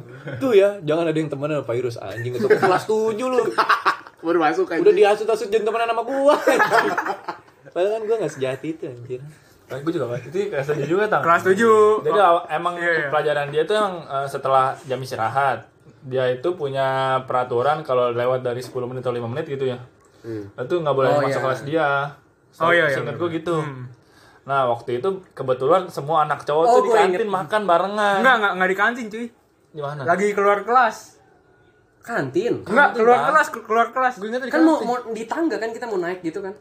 tuh ya jangan ada yang temenan sama virus anjing itu kelas tujuh lu *laughs* Baru masuk kan. udah dihasut-hasut jangan temenan sama gua anjing. padahal kan gua nggak sejati itu anjir Eh, gue juga Pak. itu kelas 7 juga tang. Kelas 7. Jadi aw- emang Iya, iya. pelajaran dia tuh yang eh, setelah jam istirahat dia itu punya peraturan kalau lewat dari 10 menit atau 5 menit gitu ya. Itu nggak boleh Oh, masuk iya. kelas dia. Oh, iya, iya, Seingat gue gitu. Nah, waktu itu kebetulan semua anak cowok Oh, tuh di gua kantin makan barengan. Enggak, enggak, enggak di kantin, cuy. Di mana? Lagi keluar kelas. Kantin? Enggak, keluar Bang. kelas, keluar kelas. Kan mau, mau di tangga kan kita mau naik gitu kan?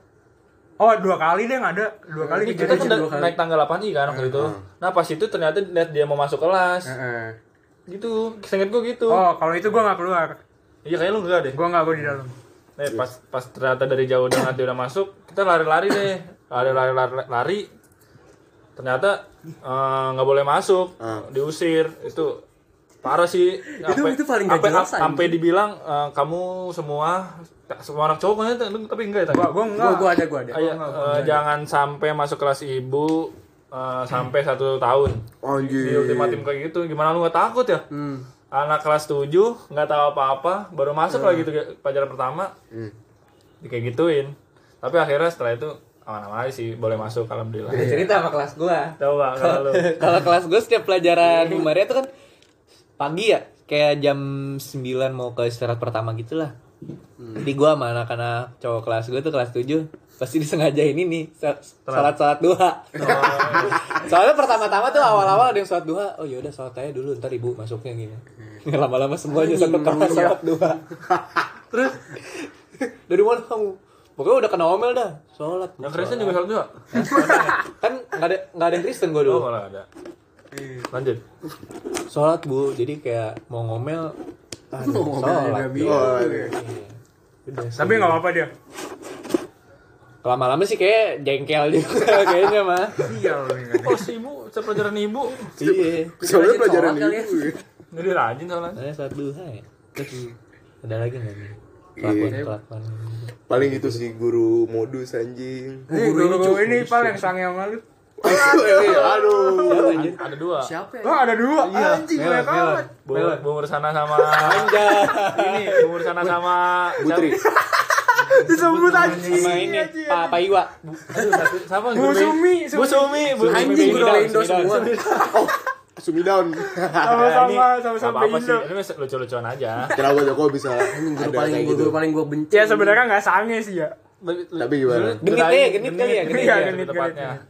Oh, dua kali deh nggak ada. Dua kali Iya, Ini kita kejadian. tuh na- naik tangga 8 i kan waktu itu. Hmm. Nah, pas itu ternyata lihat dia mau masuk kelas. Heeh. Hmm. Gitu. Seingat gue gitu. Oh, kalau itu gua nggak keluar. Iya, kayaknya lu enggak deh. Gua nggak gua di dalam. Eh, pas pas ternyata dari jauh udah nanti udah masuk, kita lari-lari deh. Lari-lari lari, lari. Ternyata eh, nggak boleh masuk, diusir. Itu parah sih. Ah. Itu- Sampai- itu paling nggak sampai- jelas, anjing. Sampai dibilang eh, kamu semua semua anak cowok kayaknya, tapi- tapi enggak ya tadi. Gua gua enggak. Gua, gua ada, gua ada Ayah, eh, jangan sampai masuk kelas ibu eh, sampai satu tahun. Di Anjir. ultimatum kayak gitu, gimana lu nggak takut ya? Anak kelas 7 nggak tahu apa-apa, baru masuk lagi tuh kayak pelajaran pertama. Di kayak gituin. Tapi akhirnya setelah itu aman-aman aja sih, boleh masuk alhamdulillah. cerita sama kelas gua Coba kalau lu. *laughs* kalau kelas gua Iya. setiap pelajaran Bu Maria tuh kan pagi ya kayak jam 9 mau ke istirahat pertama gitulah Hmm. jadi gua sama anak-anak cowok kelas gua tuh kelas 7 pasti disengajain ini sal- salat-salat duha Oh, iya. *laughs* Soalnya pertama-tama tuh awal-awal ada yang sholat duha, oh yaudah sholat aja dulu ntar ibu masuknya gini. Hmm. Lama-lama semuanya satu kamar ya. sholat duha. Terus dari mana kamu? Pokoknya udah kena omel dah, sholat. Yang Kristen juga salah juga. Kan nggak ada nggak ada yang Kristen gue Oh, dulu. malah ada. Lanjut. Sholat bu, jadi kayak mau ngomel. aduh, sholat. Oh, iya. Tapi nggak apa-apa dia. Lama-lama sih kayak jengkel juga *laughs* kayaknya mah. Iya, lu ini kan. Kelas Oh, ibu, saya pelajaran ibu. Iya. Soalnya Rajin pelajaran sholat kali ya. ibu. ya. Jadi rajin soalnya. Soalnya sholat duha ya. Terus ada lagi nggak nih? Iya. Kelakuan-kelakuan. Paling itu sih guru modus *laughs* anjing. Ini guru ini paling sange sama lu. Aduh. Siapa, anjir? Ada dua. Siapa ya? Oh, ada dua. Iya, Anjing, banyak amat. Bungur, bungur sana sama Anjay. ini, bungur sana sama Putri. Disebut anjing. sama ini Pak Ah, Pak Iwa Aduh, satu- siapa? Bu Sumi, Bu Sumi, Bu Sumi. Anjing, Sumi guru down, Indo Sumi down, semua. Sumi *laughs* down. Sama-sama, sama-sama Iya, apa-apa sih. Indo. Ini masih lucu-lucuan aja. Kenapa Joko bisa Guru ada paling kayak guru, gitu? paling gue benci. Ya sebenarnya nggak sange sih ya. Tapi gimana? Genit Tadi ya, genit kali ya, genit Iya, ya. genit, tepatnya. genit.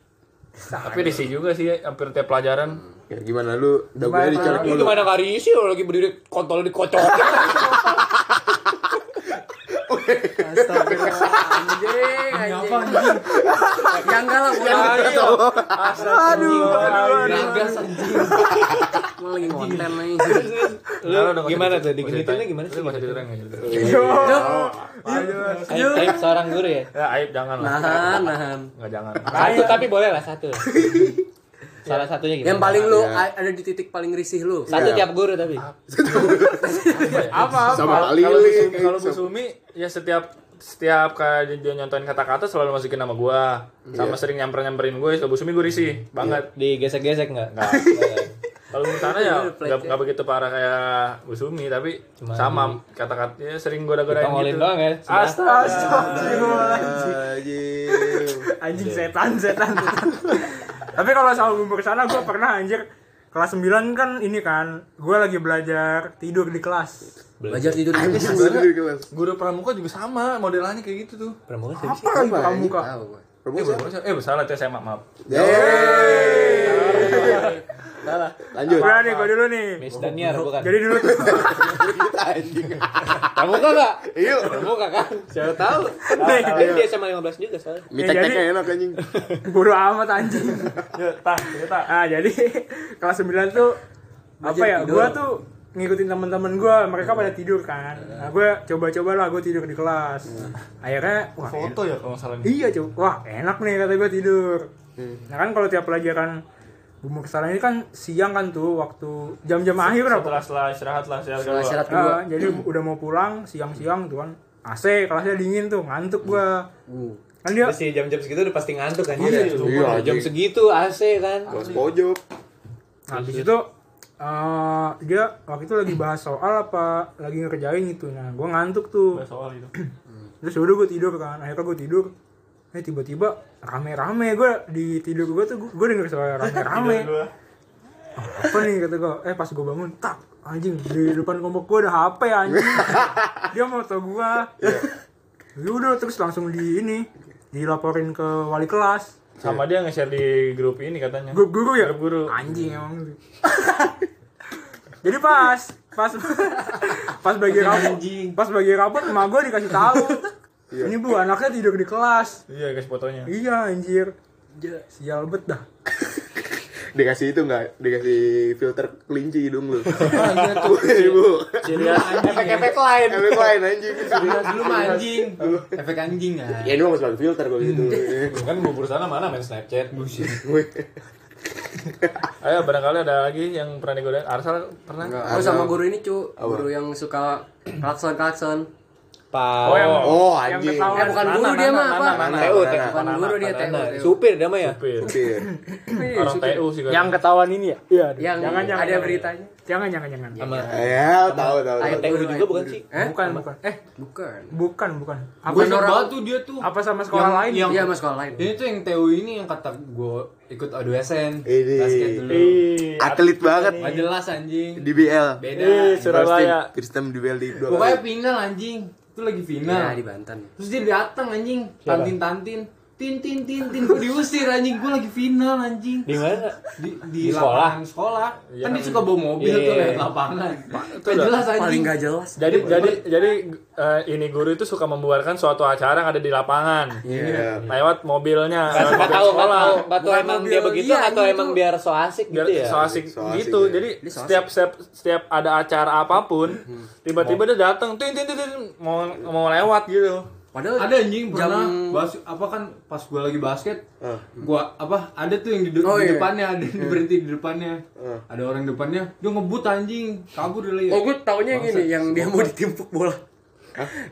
Tapi di sini juga sih hampir tiap pelajaran. Ya gimana lu? Dagunya dicolek Ini dulu. gimana kali sih lo lagi berdiri kontol dikocok. Astagfirullah, anjing, anjing. Ya enggak lah, gua Gagas anjing. gua lagi konten nih. Lu gimana tuh? Digenitinnya gimana sih? Enggak usah ceritain, nggak usah ceritain. Aib, aib seorang guru ya? Ya aib jangan lah. Nahan, nahan. Enggak jangan. Satu tapi boleh lah satu. Salah satunya gitu. Yang paling lu Iya. a- ada di titik paling risih lu. satu Iya. tiap guru tapi. Apa? Sama Kalau- Ali, kalau Bu Li. Sumi- Kalau Bu Sumi ya setiap setiap kali dia nyontoin kata-kata selalu masukin nama gua. Iya. Sama sering nyamper-nyamperin gue, kalau Bu Sumi gue risih banget. Digesek-gesek enggak? *laughs* Enggak. Kalau sana ya nggak nggak begitu parah kayak Bu Sumi tapi sama kata-kata ya sering goda-godain Ditongolin gitu. doang ya, sebelah. Iya. Astagfirullahaladzim. Anjing. Anjing setan, setan. Tapi kalau soal bumbu sana gue pernah anjir kelas 9 kan ini kan gue lagi belajar tidur di kelas. Belajar tidur di Anjing kelas. baru di kelas. Guru pramuka juga sama modelannya kayak gitu tuh. Pramuka sih. Apa lagi Apa, kamu anjing? kak? Tahu gua. Iya, Eh, Promosi. bukan pramuka, eh salah tes SMA maaf. Iya. Yeay. Lanjut. Udah nih gue dulu nih. Miss Daniar bukan. Jadi dulu tuh Anjing. Pramuka enggak? Iya. Pramuka kan. Siapa tahu. Ah, Kan Dia di SMA 15 juga soalnya. Micek-ceknya enak anjing. Bodo amat anjing. Ah, jadi kelas 9 tuh apa ya? tidur. Gua tuh ngikutin teman-teman gua, mereka pada tidur kan. Nah, gua coba-coba lah gua tidur di kelas. Akhirnya wah, Foto ya kalau nggak salah. Iya coba, wah enak nih kata gue tidur. Nah kan kalau tiap pelajaran bumbu kesalahan ini kan siang kan tuh waktu jam-jam akhir Setelah apa? setelah istirahat lah setelah kedua. Setelah istirahat Nah, kedua. Ah, jadi udah mau pulang siang-siang tuh kan AC kelasnya dingin tuh ngantuk gua. Uh. Kan dia Terus ya jam-jam segitu udah pasti ngantuk kan. Iya, Iya, Jam anjing. segitu AC kan. Kelas pojok. Nah, habis itu eh, dia waktu itu lagi bahas soal apa lagi ngerjain gitu. Nah, gua ngantuk tuh. Soal itu. Terus udah gue tidur kan. Akhirnya gue tidur. Eh tiba-tiba rame-rame gue di tidur gue tuh gue denger suara rame-rame. apa nih kata gue eh pas gue bangun tak anjing di depan kelompok gue ada HP *laughs* anjing dia mau tau gue yaudah terus langsung di ini dilaporin ke wali kelas Sama dia nge-share di grup ini katanya. grup guru ya Grup guru. anjing emang lu. jadi pas pas *laughs* pas bagi rapot pas bagi rapot emak gue dikasih tahu ini bu anaknya tidur di kelas Iya, guys fotonya. iya anjir sial bet dah Dikasih itu enggak? Dikasih filter kelinci hidung lu. Ibu. Efek-efek lain. Efek lain anjing. Lu anjing. Efek anjing kan. Ya ini mah pakai filter kalau gitu. Kan bubur sana mana main Snapchat. *laughs* Ayo barangkali ada lagi yang pernah digodain. Arsal pernah? Ah. Gua sama guru ini cu, guru yang suka klakson klakson. *laughs* Pak. Oh, yang anjing. ketahuan Eh bukan guru dia mah apa? TU, TU. Bukan guru dia TU. Supir dia mah ya. Supir. Iya. Orang TU sih kan. yang ketahuan ini ya iya Yang jangan jangan ada beritanya. jangan jangan jangan Sama Ya, tahu tahu. tahu. Ayo. TU juga bukan sih? Eh? bukan bukan eh Bukan. bukan bukan apa Gue Bukan orang- banget tuh dia tuh. apa sama sekolah lain Yang- Eh, Iya sama sekolah lain. Ini tuh yang TU ini yang kata gue ikut ADSN. Ini. Basket dulu. Ih, Atlet banget Gak jelas anjing. DBL. Beda. ya. Ih, Surabaya. First team- First team DBL di dua Pokoknya kali. final anjing. Itu lagi final. Nah, di Banten. Terus dia datang anjing, tantin-tantin. Tin tin tin tin gue diusir anjing, gue lagi final anjing. Di mana? Di, Di di, lapangan sekolah. Kan dia suka bawa mobil Iya. tuh lewat lapangan. Gak jelas Paling anjing. gak jelas. Jadi jadi jadi eh, ini guru itu suka membuarkan suatu acara yang ada di lapangan. Iya. Lewat mobilnya. lewat Gak nggak mobil Kan tahu nggak sekolah. tahu nggak tahu Bukan emang mobil dia begitu dia, atau ini emang tuh. biar so asik biar gitu ya. so asik So asik gitu ya. jadi so setiap setiap setiap ada acara apapun tiba-tiba dia datang tin tin tin tin, mau mau lewat gitu Padahal Ada anjing pernah Eh, Jam- bas, apa kan pas gue lagi basket, Ah. gua apa ada tuh yang di, de- Oh, di iya. depannya ada yang berhenti di depannya. Ada orang depannya, dia ngebut anjing, kabur dia. Oh gue taunya yang ini yang dia mau ditimpuk bola.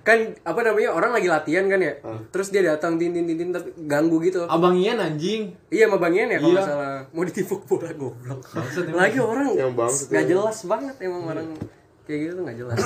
Kan apa namanya orang lagi latihan kan ya. Terus dia datang tin tin tin tin, tapi ganggu gitu. Abang Ian anjing. Iya sama Bang Ian ya kalau Iya. nggak salah mau ditimpuk bola goblok. Bangsat emang. Lagi orang Yang bangsat nggak ya. jelas banget emang orang kayak gitu tuh nggak jelas.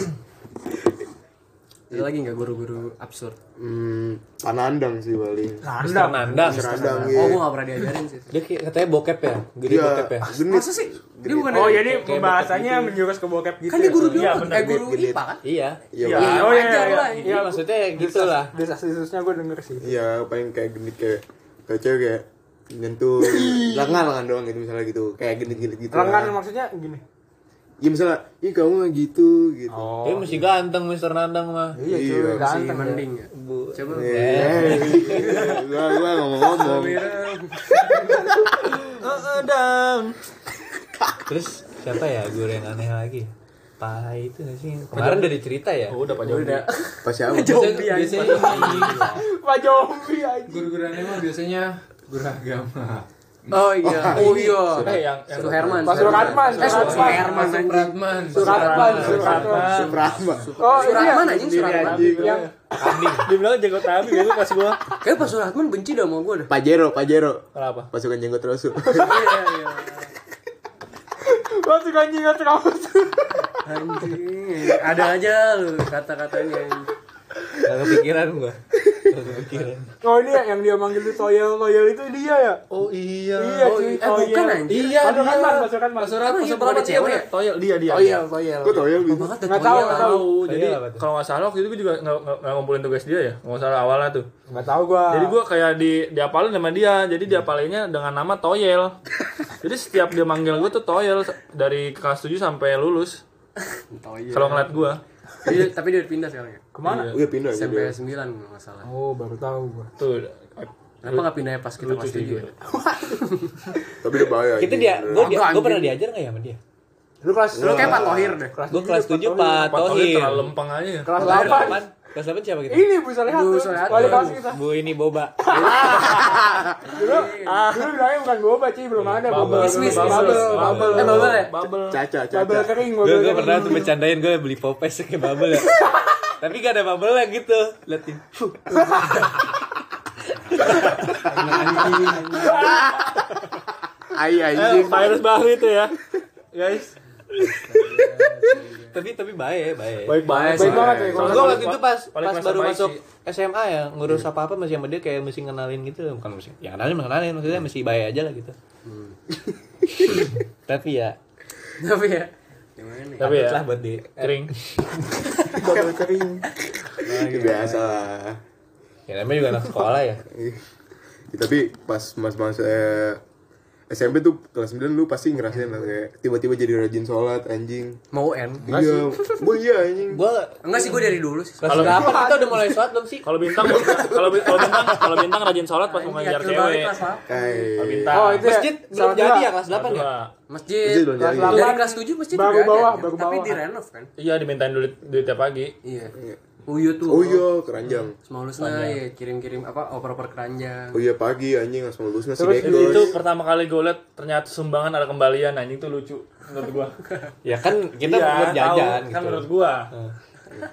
Ada lagi nggak guru-guru absurd? Hmm, panandang sih paling. Nanda. Mister Nandang. Serandang Oh, gitu. gua nggak pernah diajarin sih. Dia kayak- katanya bokep ya, gede Iya, bokep ya. genit. iya, Masa sih? Dia bukan Oh, jadi pembahasannya menjurus ke bokep gitu. kan dia guru Iya, biologi, eh benar. guru Genit. IPA kan? Iya. Iya, Iya, paling- oh iya, wajar iya. lah. Iya, Iya maksudnya gitu lah. desas-desusnya gue denger sih. iya, paling kayak genit kayak kayak cewek kayak nyentuh lengan lengan doang gitu misalnya gitu kayak genit genit gitu Lengan lah. maksudnya gini. ya misalnya ih kamu mah gitu gitu Dia mesti ganteng Mister Nandang mah. Iya, Iya, cuy, masih ganteng. Mending ya. Coba Eh, gua gua ngomong-ngomong Terus siapa ya guru yang aneh lagi? Pak itu nggak sih? Kemarin udah dicerita ya. Oh, udah Pak Jody. pas siapa Biasanya, biasanya Pak Jombi aja. Guru-guru aneh mah biasanya guru agama. Oh iya. Oh iya. Eh, yang yang Su Herman. Pak Suratman, Eh, Su Suratman. Herman anjing. Pratman. Suratman, Suratman. Suprama Oh, Suratman anjing Suratman. yang *laughs* dibilang jago tabi gitu pas gua. Kayak Pak Suratman benci dah sama gua dah. Pajero Pajero Kenapa? pasukan jenggot rasul Iya iya. gua suka anjing gak terlalu. Anjing. Ada aja lu kata-katanya. Gak kepikiran gua. Gak kepikiran. Oh, ini ya, yang dia manggil itu loyal, loyal itu dia ya. Oh iya. Iya, Oh, cuy. eh, bukan anjing. Iya Pak dia. Suratman, Pak Suratman. Orang iya pernah ada cewek. Toyel dia dia. Oh iya, loyal. gua tau ya gitu Banget dah Nggak tahu, cowoknya iya, tahu. tahu jadi Iya, apa tuh? kalau nggak salah waktu itu gue juga nggak nggak- nggak ngumpulin tugas dia ya nggak salah awalnya tuh Gak tau gua. jadi gue kayak di diapalin sama dia jadi diapalinnya dengan nama Toyel jadi setiap dia manggil gue tuh Toyel dari kelas 7 sampai lulus kalau ngeliat Iya, gue Tapi dia- Iya, Tapi dia udah pindah sekarang ya. kemana? Udah pindah gitu SMP 9 enggak salah. Oh, baru tahu gua. tuh Kenapa enggak pindahnya pas kita kelas ya? 7? tapi udah bahaya Kita anjing. dia, gua, dia, Agak gua anjing. pernah diajar nggak ya sama dia? Lu kelas Lu kayak Pak Tohir deh. Iya, Gua kelas 7 Pak Pak Toyel Tohir. terlalu lempeng aja ya. kelas Tohir 8. kapan? Kelas 8 siapa kita? Ini Bu Solehat. Bu Bu Solehat. Wali kelas kita. Bu ini boba. Dulu dulu bilangnya bukan boba, cuy, belum ada boba. Bisnis, Bubble, bisnis. bubble. Eh, bubble ya? Bubble. caca Bubble caca kering, Gue bubble gue kering. pernah tuh bercandain gue beli popes kayak bubble ya. Tapi gak ada bubble lah gitu. Liatin. Fuh. ai Eh, anjing virus baru itu ya guys Tapi tapi baik baik. baik banget Baik banget ya. Soalnya gue waktu itu pas Paling pas masa baru baik masuk sih. SMA ya ngurus apa apa masih sama dia kayak mesti kenalin gitu bukan mesti ya kenalin mah kenalin maksudnya mesti baik aja lah gitu. *laughs* Tapi ya Tapi ya. Gimana ya? tapi ya lah buat di kering Bubble kering. biasa lah ya namanya juga anak sekolah *laughs* ya. Ya, tapi pas mas mas eh, SMP tuh kelas 9 lu pasti ngerasain lah kayak tiba-tiba jadi rajin sholat anjing Mau UN? iya gua iya anjing Gue Enggak sih gue dari dulu sih. kelas berapa kita udah mulai sholat belum sih? kalau bintang kalau bi- kalau bintang kalau bintang rajin sholat pas mau ngajar Yakin Iya, banget cewek kelas apa? kalau kayak bintang Oh, itu ya. Masjid belum Sholat jadi dua. ya kelas 8 ya? Nah, Masjid. Masjid belum jadi. Dari Delapan. kelas 7 masjid Baru juga bawah, ada. baru Tapi bawah. direnov kan? iya dimintain duit duit tiap pagi Iya. Uyu tuh. oh iya keranjang Semau lulusnya ya kirim-kirim apa oper-oper keranjang. oh iya pagi anjing langsung lulusnya si Terus Bego itu pertama kali gue liat ternyata sumbangan ada kembalian anjing tuh lucu menurut *laughs* gua. Ya kan kita tahu. buat jajan Kan gitu. menurut gua.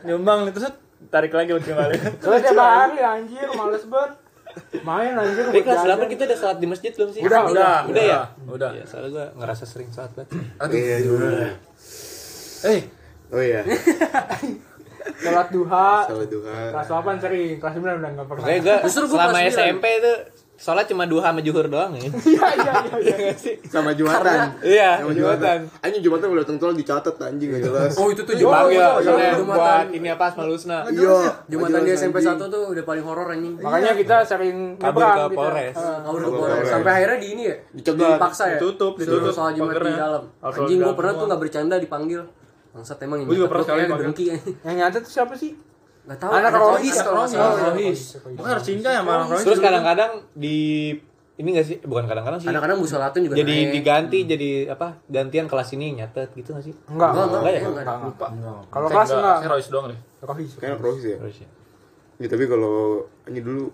Nyumbang itu set tarik lagi buat *laughs* kembali. Terus tiap hari anjir, males banget. Main anjir. Tapi kelas berjalan. 8 kita udah sholat di masjid belum sih? Udah, udah. udah ya. Udah. Ya, soalnya gue ngerasa sering sholat banget. iya iya. Eh, oh iya Sholat duha. salat duha Kelas 8 sering, kelas 9 udah enggak pernah. Makanya gue Justru gua selama kelas sembilan. SMP tuh sholat cuma duha sama juhur doang ya. *laughs* Iya, iya, iya. Iya sih? sama jumatan Iya, sama jumatan. jumatan anjing jumatan udah datang tol dicatat anjing gak jelas Oh itu tuh Dipanggil Jumatan. soalnya Jumatan. buat ini apa sama Lusna. iya Jumatan di SMP 1 tuh udah paling horor anjing. Iya, Makanya kita sering Kabur nyebrang ke gitu. Polres. Ngawur Kabur gua. Polres. Sampai akhirnya di ini ya. Dicegat. Dipaksa ya. Ditutup, Disuruh ditutup soal Jumat di pagernya. dalam. Atau Anjing gua dalam pernah tuh doang. enggak bercanda dipanggil. Bangsat emang ini. Gua juga pernah sekali Kayak dipanggil. dengki anjing. Yang nyata tuh siapa sih? Enggak tahu. Anak ada Rohis, Oh, Rohis kalau nggak salah. Rohis. gua harus cinta ya malah kalau Terus kadang-kadang di ini gak sih? Bukan kadang-kadang sih. Kadang-kadang musolatun juga Jadi naik. diganti jadi apa? Gantian kelas ini nyatet gitu gak sih? Enggak. Enggak, enggak, ya? enggak, enggak. Lupa. Kalau kelas enggak, enggak. saya Royce doang deh. Rohis. kayak rohis ya Terus ya. Ya, tapi kalau anjing dulu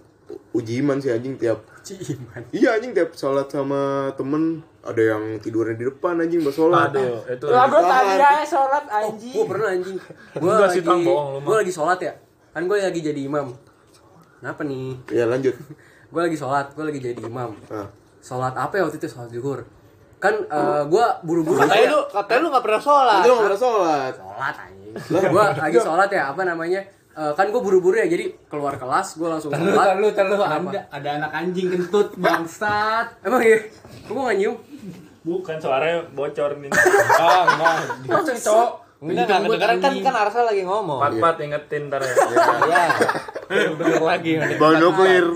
uji iman sih anjing tiap Ciman. Iya anjing tiap sholat sama temen ada yang tidurnya di depan anjing buat sholat. Aduh, itu. Lah gua tadi aja sholat anjing. Gue pernah anjing. Gue Enggak lagi sih, Tang, bohong lu mah. gue lagi sholat ya. Kan gue lagi jadi imam. Kenapa nih? Ya lanjut. Gue lagi sholat, gue lagi jadi imam. Ah. Sholat apa ya waktu itu sholat zuhur? Kan gue buru-buru. ya. Nah, Katanya lu, katanya lu gak pernah sholat. Itu nggak pernah sholat. sholat anjing. Gue lagi sholat ya apa namanya? eh, kan gue buru-buru ya jadi keluar kelas gue langsung Terlalu, sholat terlalu, terlalu. Kenapa? Ada, ada anak anjing kentut, bangsat. emang iya gue gak nyium Bukan suaranya bocor *laughs* nih. Ah, enggak. langsung cowok Enggak, enggak kedengeran kan kan Arsa lagi ngomong. Pat-pat ingetin ntar ya. Iya. Bener lagi. Bau nuklir.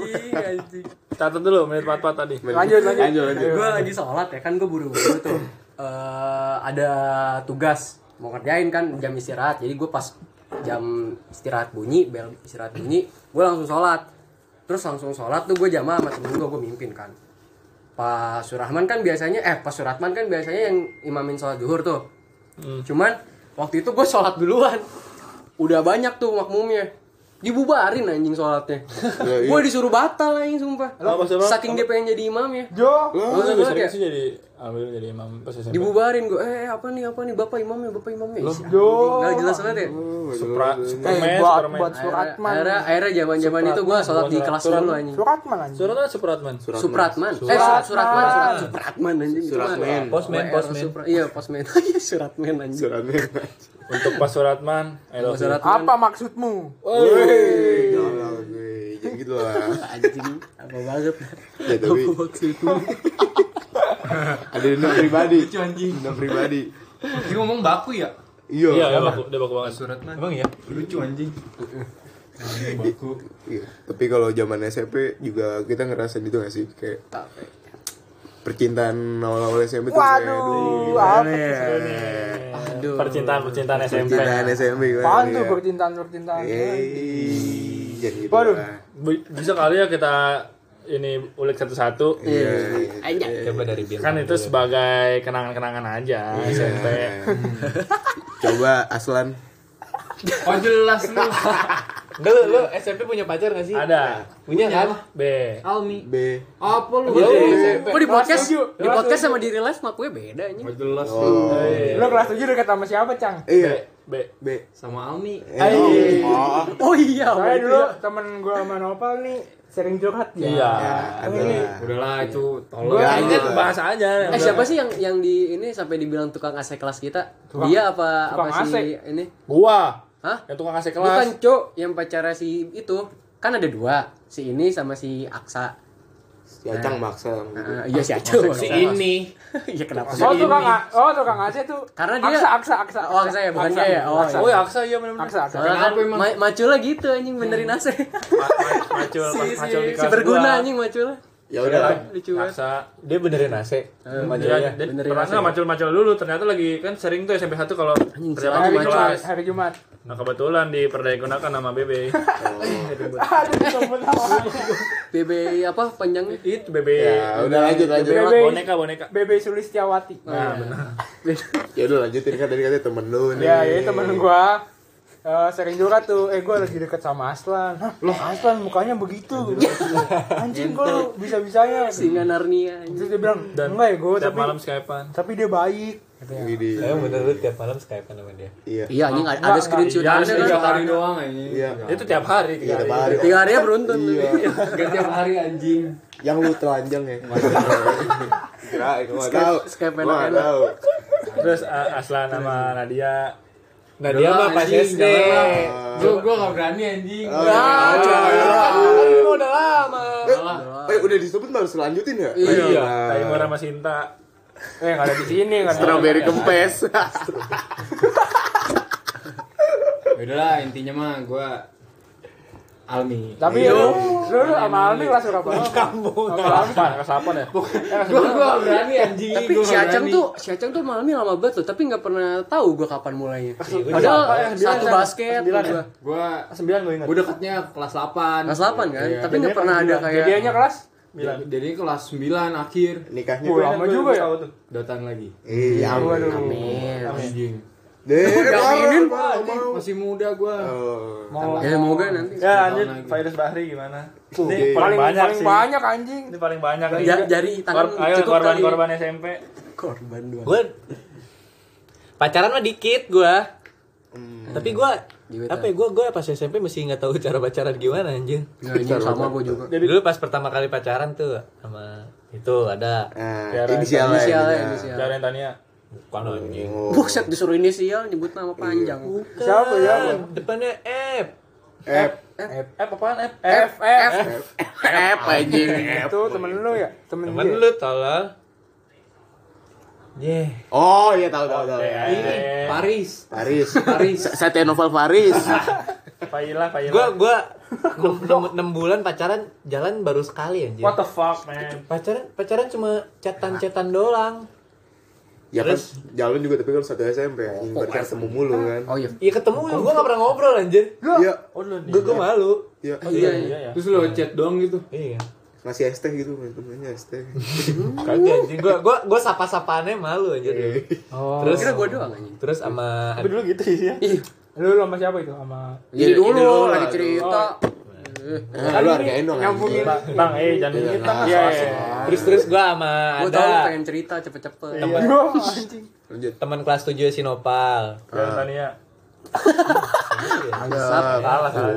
Catat dulu menit pat-pat tadi. Lanjut, lanjut. Lanjut, lanjut. gue lagi sholat ya kan gue buru-buru tuh Eh, ada tugas mau ngerjain kan jam istirahat jadi gue pas jam istirahat bunyi bel istirahat bunyi gue langsung sholat terus langsung sholat tuh gue jamaah sama temen gue gue mimpin kan Pak Surahman kan biasanya eh Pak Surahman kan biasanya yang imamin sholat zuhur tuh cuman waktu itu gue sholat duluan udah banyak tuh makmumnya dibubarin anjing sholatnya iya. gue disuruh batal anjing sumpah saking dia pengen jadi imam ya Gue Gua- juga gua sering kayak- sih jadi ambil jadi imam pas SMP. dibubarin gue eh eh, apa nih apa nih bapak imamnya bapak imamnya Ih, anjing, nggak jelas banget ya Supra, Superman, Eh, buat Superman. buat Akhirnya- Suratman. akhirnya akhirnya zaman zaman itu gue sholat di kelas dulu anjing Suratman anjing. Suratman Supratman. Supratman eh surat Suratman Surat Supratman anjing Suratman. posmen posmen iya *laughs* posmen iya Suratman anjing Suratnya. Untuk Pak Suratman, I love you. Suratman Apa maksudmu? Oh, Wih, galau gue. Jangan gitu lah. anjing apa banget Ya tapi Apa waktu itu ada dendam pribadi. Dendam pribadi. Dia ngomong baku ya? Iya. Iya, dia baku, dia baku banget. Emang iya? Lucu anjing. Iya. Tapi kalau zaman SMP juga kita ngerasain itu gak sih kayak percintaan awal-awal SMP tuh kayak, Waduh, gimana apa ya? Percintaan, percintaan SMP. Percintaan SMP gimana Apaan tuh ya? percintaan percintaan? Eh, jangan gitu Waduh. lah. Bu- Bisa kali ya kita ini ulik satu-satu. Iya. Coba dari biar. Kan itu sebagai kenangan-kenangan aja Iya. SMP. Coba Aslan. Oh jelas lu. Enggak lu, lu SMP punya pacar enggak sih? Ada Punya kan? B. Almi. B. Apa lu? Lu Gua di podcast di podcast sama di real life map gue beda anjing jelas eh. Oh. Lo kelas 7 dekat sama siapa, Cang? Iya. B. B. Sama Almi. Eh, oh. oh iya Saya dulu temen gue sama Nopal nih sering curhat ya. Iya. Ada lah. Udahlah itu tolong. Ya, ini bahas aja. eh siapa sih yang yang di ini sampai dibilang tukang AC kelas kita dia apa tukang apa AC. sih ini Gua. Hah? Yang tukang kasih kelas. Bukan cok yang pacara si itu kan ada dua si ini sama si Aksa. Si Acang Ya, maksa. Eh, iya si Aksa. Si ini. *laughs* Iya kenapa? Oh tukang A- oh tukang AC tuh. Karena dia- aksa aksa aksa. Oh Aksa ya bukan dia ya. Oh Aksa. iya. Oh ya Aksa iya benar-benar. Aksa aksa. Soalnya kan ma macula gitu anjing benerin AC. Ma- ma- Macul, *laughs* si, pas si, macul di si kelas gua. berguna anjing macula. Ya udah. Lucu banget. Aksa. Dia benerin AC. Iya, Majunya. dia benerin pernah AC. nggak macul-macul dulu ternyata lagi kan sering tuh SMP 1 kalau ternyata Hari di Jumat, kelas. hari Jumat. Nah kebetulan diperdayagunakan sama *laughs* Bebe. Oh. Aduh, temen sama aku. BB apa panjangnya? Itu Bebe. Ya udah lanjut lanjut. Bebe. Boneka boneka. Bebe Sulistiawati. Nah, Ya udah lanjutin kan tadi katanya temen lu nih. Ya, jadi temen gua eh, sering curhat tuh, eh gua lagi deket sama Aslan Hah, Loh Aslan mukanya begitu *laughs* Anjing gua Gitu. lu bisa-bisanya Singa Narnia anjing. Terus dia bilang, enggak ya gua Tiap tapi, malam skypean. tapi dia baik katanya. Widih. Saya bener lu tiap malam Skype sama dia. Iya. Iya anjing ada, ada screenshotannya Iya, kan. Tiga hari doang eh. anjing. Iya. Itu tiap hari Iya, tiga hari. tiap hari. Tiga harinya ya beruntun. Iya. Gak tiap hari anjing. Yang lu telanjang ya. Kirain gua nggak tahu. Skype Gua nggak enak-enak. tahu. Terus A- Aslan sama Nadia. Nah, dia mah pas anjing, SD. Ah. janganlah. Gua gua gak berani anjing. Oh. Ah, Kan udah lama. Eh, eh, udah disebut harus lanjutin ya? Iya. Taimur sama Sinta. Eh nggak ada di sini, nggak ada Strawberry kempes. Udahlah intinya mah gua Almi. Tapi Iya. lu, lu, lu sama Almi kelas berapa? Kelapan, kelapan ya. Gua gua gak berani anjing. Tapi gua si gak Acang berani. tuh, si Acang tuh malamnya lama banget loh, tapi nggak pernah tahu Iya, gua kapan mulainya. apa ya? Padahal satu Sembilan, basket sembilan ya? gua. gua Sembilan gue ingat. gua dekatnya kelas 8. Kelas 8 kan, Iya. tapi nggak pernah ada kayak Jadiannya kelas? Iya. Jadi- Jadi kelas 9 akhir *laughs* Nikahnya Wah, lama juga ya datang lagi. Eh, ya ampun. Waduh Iya. Anjing. Deh, parah, parah, parah. Masih muda gua. Oh. Ya semoga nanti. Ya lanjut Tahun lagi. virus Bahri gimana? Oke. Ini paling Paling, banyak paling sih. banyak anjing Ini paling banyak nih. Ja- jari tangan Kor- ayo, cukup kali. korban-korban SMP. Korban dua. Gue pacaran mah dikit gua. Tapi gua Jiwetan. apa ya gua gua pas SMP masih nggak tahu cara pacaran gimana anjing. Ya, ini sama gua juga. Dulu pas pertama kali pacaran tuh sama itu ada Ah, Tiara, inisial lah, Inisialnya, inisial. inisial. Jalan Tania. bukan anjing. Oh. Buset disuruh inisial nyebut nama panjang. Siapa ya? Depannya F. F F apaan F? F F F anjing F itu temen lu ya temen, Temen dia. Kan lu tolol. Yeah. Oh iya tahu tahu tahu iya. Paris Paris Paris Satya Novel Paris Failah, Failah. Gua *laughs* gua 6, bulan pacaran jalan baru sekali anjir. What the fuck, man? Pacaran pacaran cuma cetan-cetan doang. Ya kan Terus? jalan juga tapi kan satu SMP anjing berarti ketemu mulu kan Oh iya. Iya ketemu gua gak pernah ngobrol anjir. Iya Gua gua malu. iya Iya, iya. Iya ya. terus lo chat doang gitu Iya. ngasih es teh gitu main temennya es teh Kagak anjir. Gua gua gua sapa-sapaannya malu anjir. Terus Kira gua doang anjing. terus sama Tapi dulu gitu ya. lu lu sama siapa itu sama Jadi dulu lagi aduh. cerita. Nah, lu hargain dong anjing Bang, eh jangan dikit Bang. Iya. iya. terus terus gua sama Gua tahu lu ada pengen cerita cepet-cepet. lanjut teman kelas 7 Sinopal. Iya, Tania. Mantap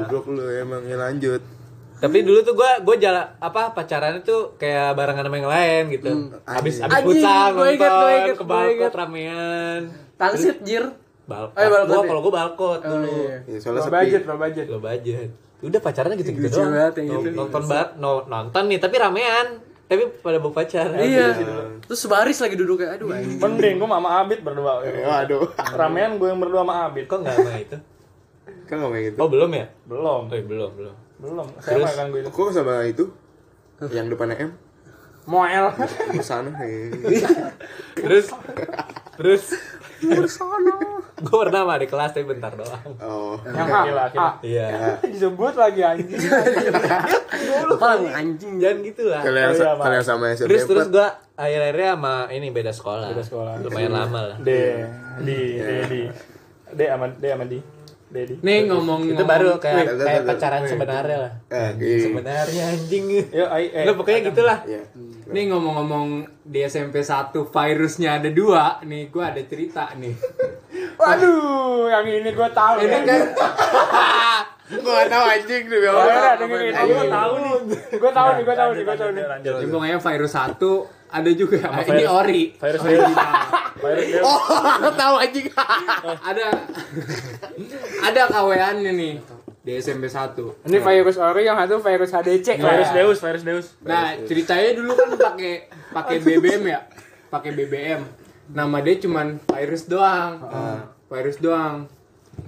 Goblok lu emang ya lanjut Tapi dulu tuh gua gua jalan apa pacarannya tuh kayak barengan sama yang lain gitu. Habis habis Hmm, Anjing, gua futsal nonton ingat, gua ingat, ke gua balkot ingat. ramean. Tangsit jir. Balkot. Eh, balkot Gua ya? kalau gua balkot Oh, dulu. iya. Ya, soalnya Low sepi budget low budget Lo budget. Udah pacarannya gitu-gitu Lucu banget doang. yang gitu. Nonton banget, no- nonton nih tapi ramean. Tapi pada bawa pacar. Iya. Terus sebaris lagi duduk kayak aduh anjing. Mending gua sama Abid berdua. Ya, Waduh Ramean gua yang berdua sama Abid. Kok enggak sama itu? Kan gak main gitu Oh, belum ya? Belum, Oh, iya, belum, belum. belum. Saya makan gua itu. Kok sama itu? Yang depannya M? moel Ke sana ya. Terus terus Gue pernah sama adik kelas tapi bentar doang. Oh yang A Gila, A akhirnya. Iya. disebut lagi anjing Kepala anjing. Jangan gitu lah. Kalau yang, Oh, iya, Pak. kalau yang sama SMP Terus terus empat, gua akhir-akhirnya sama ini beda sekolah. Beda sekolah. Lumayan lama lah. D, D, D, D. D sama D sama D. D, D. nih ngomong Itu baru kayak Wait, wait, kayak pacaran sebenarnya lah. eh, iya. Sebenarnya anjing. *laughs* Yo, ai, eh. Lo pokoknya gitulah. Iya. nih ngomong-ngomong di SMP 1 virusnya ada dua nih gua ada cerita nih waduh yang ini gua tahu ini ya. kan Gua gak tau anjing nih Gua Bel. tahu, dengerin. Gua tahu nih gua tahu nih gua tahu nih gua tahu nih Iya, Lanjut. ini pokoknya virus 1 ada juga *laughs* ini virus- ori Virus Dewi. Virus Dewi. Tahu anjing. Eh. ada *laughs* ada kawean nih di SMP 1 ini virus ori yang satu virus HDC Virus Deus, virus Deus. Nah, ceritanya dulu kan pakai pakai BBM ya. Pakai BBM. Nama dia cuman virus doang. Virus doang.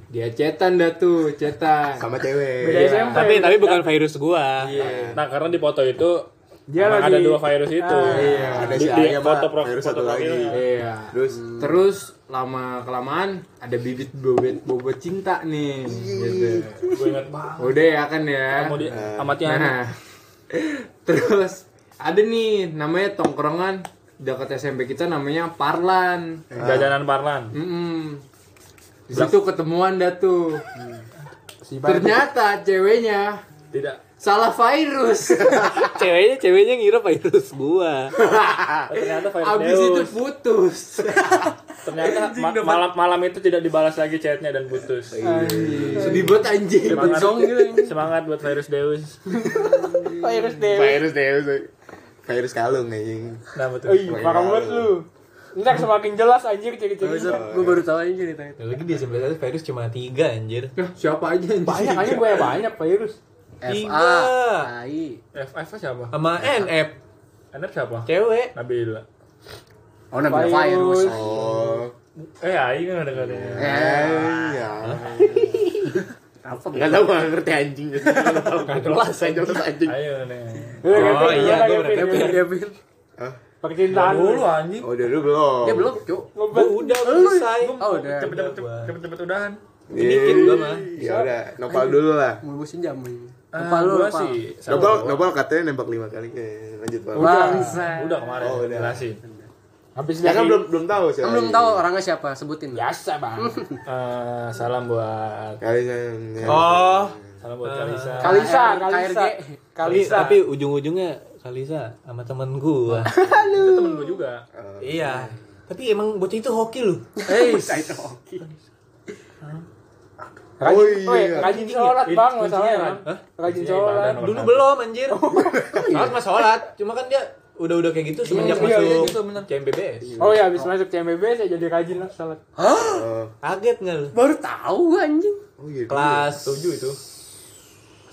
Dia cetan dah tuh, cetan. Sama cewek. beda SMP Tapi tapi bukan virus gua. Nah, karena di foto itu Dia emang lagi- ada dua virus itu. Iya, ada si ya. Di- di Ayah, Pak. foto pro- Virus foto satu lagi. profilnya. Iya. Terus Terus lama kelamaan ada bibit bobot bobot cinta nih. Gitu. Gue ingat banget. Udah ya kan ya. *laughs* Mau di sama Tiana. Nah, terus ada nih namanya tongkrongan dekat SMP kita namanya Parlan. Jajanan Parlan. Hmm? Mm-mm. Di situ ketemuan dah tuh. Ternyata ceweknya Tidak. salah virus. Ceweknya ceweknya ngira virus gua. Oh, ternyata virus Abis itu Deus. putus. *laughs* Ternyata ma- malam malam itu tidak dibalas lagi chatnya dan putus. Sedih banget anjing. Semangat. Bencong gitu. Semangat buat virus Deus. virus Dewi virus deh. virus. eh. Virus kalung anjing. Nah, betul. Ih, parah banget lu Ntar semakin jelas anjir ciri-cirinya Gua baru tahu anjing cerita itu. Nah, lagi di SMP satu virus cuma tiga anjir. Yah, Siapa aja anjing? Banyak anjing banyak banyak virus FA. Tiga. AI. FF siapa? Sama NF NF siapa? cewek. Nabila. Oh, namanya virus. Oh. Eh, Aing kan ada katanya. Eh, ya. Apa? Gak tau gak ngerti anjing. Kelas anjing. Terus anjing. Ayo nih. Lu Oh Kevin, iya, gimana, gua Kevin? berarti Kevin. percintaan lu Dulu anjing. Eh. Oh, dulu belum. Dia belum, Cuk. gua udah selesai. Oh, udah. Cepet-cepet cepet-cepet udahan. Dikit gua mah. Ya udah, nopal dulu lah. Mau bosin jam ini. Ah, Apa lu gua apa? sih. sama Nopal, gua. nopal katanya nembak lima kali. Eh, lanjut Pak. Iya. Bangsa. Udah kemarin. Oh, udah. Jelasin. habis Ya kan dari belum belum tahu sih. Kamu belum tahu orangnya siapa, sebutin. biasa bang Eh, salam buat Kali saya. Oh. salam buat Kalisa. Kalisa KRG. Kalisa Tapi, Kalisa tapi ujung-ujungnya Kalisa sama temen gua. Itu temen gua juga. iya. Tapi emang bocah itu hoki loh. Oh, rajin iya. weh, rajin sholat bang masalahnya Kuncinya, bang Hah? rajin Kuncinya ibadah sholat Oh, nomor Dulu satu. belum anjir. Sholat mah sholat. Cuma kan dia udah-udah kayak gitu semenjak iya, iya, masuk CMBBS. oh ya habis masuk CMBB saya jadi rajin lah sholat Oh, Kaget nggak lu? Iya. Baru tahu gua, anjing. oh iya. Kelas Tujuh itu.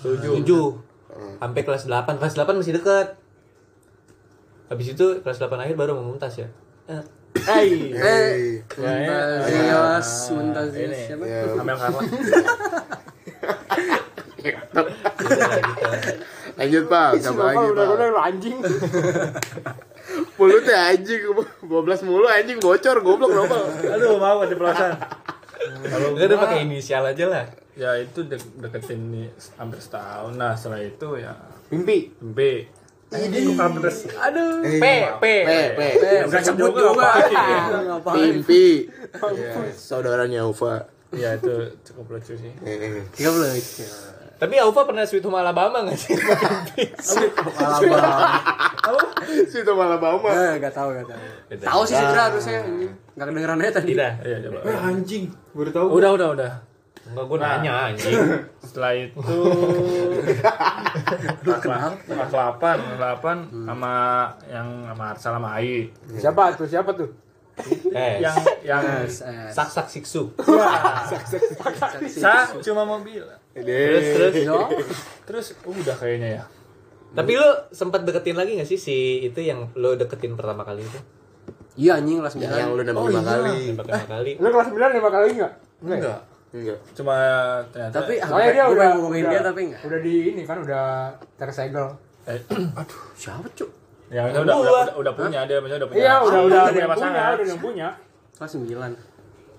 Iya. tujuh sampai kelas 8 kelas 8 masih deket habis itu kelas 8 akhir baru memuntas ya Iya. Eh, Eh, Ah. Muntazias, Muntazias siapa? ya, Amel Carla. lanjut pak, sama lagi pak. Eh, anjing. Mulutnya anjing, 12 mulu anjing bocor, goblok kenapa? *laughs* Aduh, mau ada perasaan. Kalau udah gua- pakai inisial aja lah *laughs* ya itu de- deketin nih hampir setahun. Nah, setelah itu ya Mimpi. B. Ini bukan pedes. Eh, P P P, Enggak sebut juga. *laughs* Mimpi, ya, saudaranya Ufa. Ya itu cukup lucu sih. Eh, *laughs* Tiga belas. tapi Aufa pernah Sweet Home Alabama nggak sih Situ malah bau mah. Eh, gak tau, gak tau. Tahu sih Sidra harusnya. anjing. Gak kedengeran aja tadi. tidak Iya, coba. Baru tahu. Udah, udah, udah. enggak gue nanya anjing Setelah itu kenal kelas 8, kelas 8 sama yang sama Arsal sama Ai. Siapa tuh? Siapa tuh? eh Yang yang Eh, sak sak siksu sa cuma mau bilang. terus terus Terus udah kayaknya ya. tapi lo sempat deketin lagi nggak sih si itu yang lo deketin pertama kali itu Iya anjing kelas iya, Yang, 9. yang lu nembak lima kali. yang pertama kali Lu kelas 9 lima kali enggak? Enggak. Enggak. Cuma ternyata Tapi Soalnya Oh, iya, dia gue udah pengen ngomongin dia tapi enggak. Udah di ini kan udah tersegel. eh, Siapa cuk? ya udah udah, Gua. udah, udah punya dia maksudnya udah punya. Iya, udah udah punya udah punya, pasangan. udah yang punya. Kelas 9.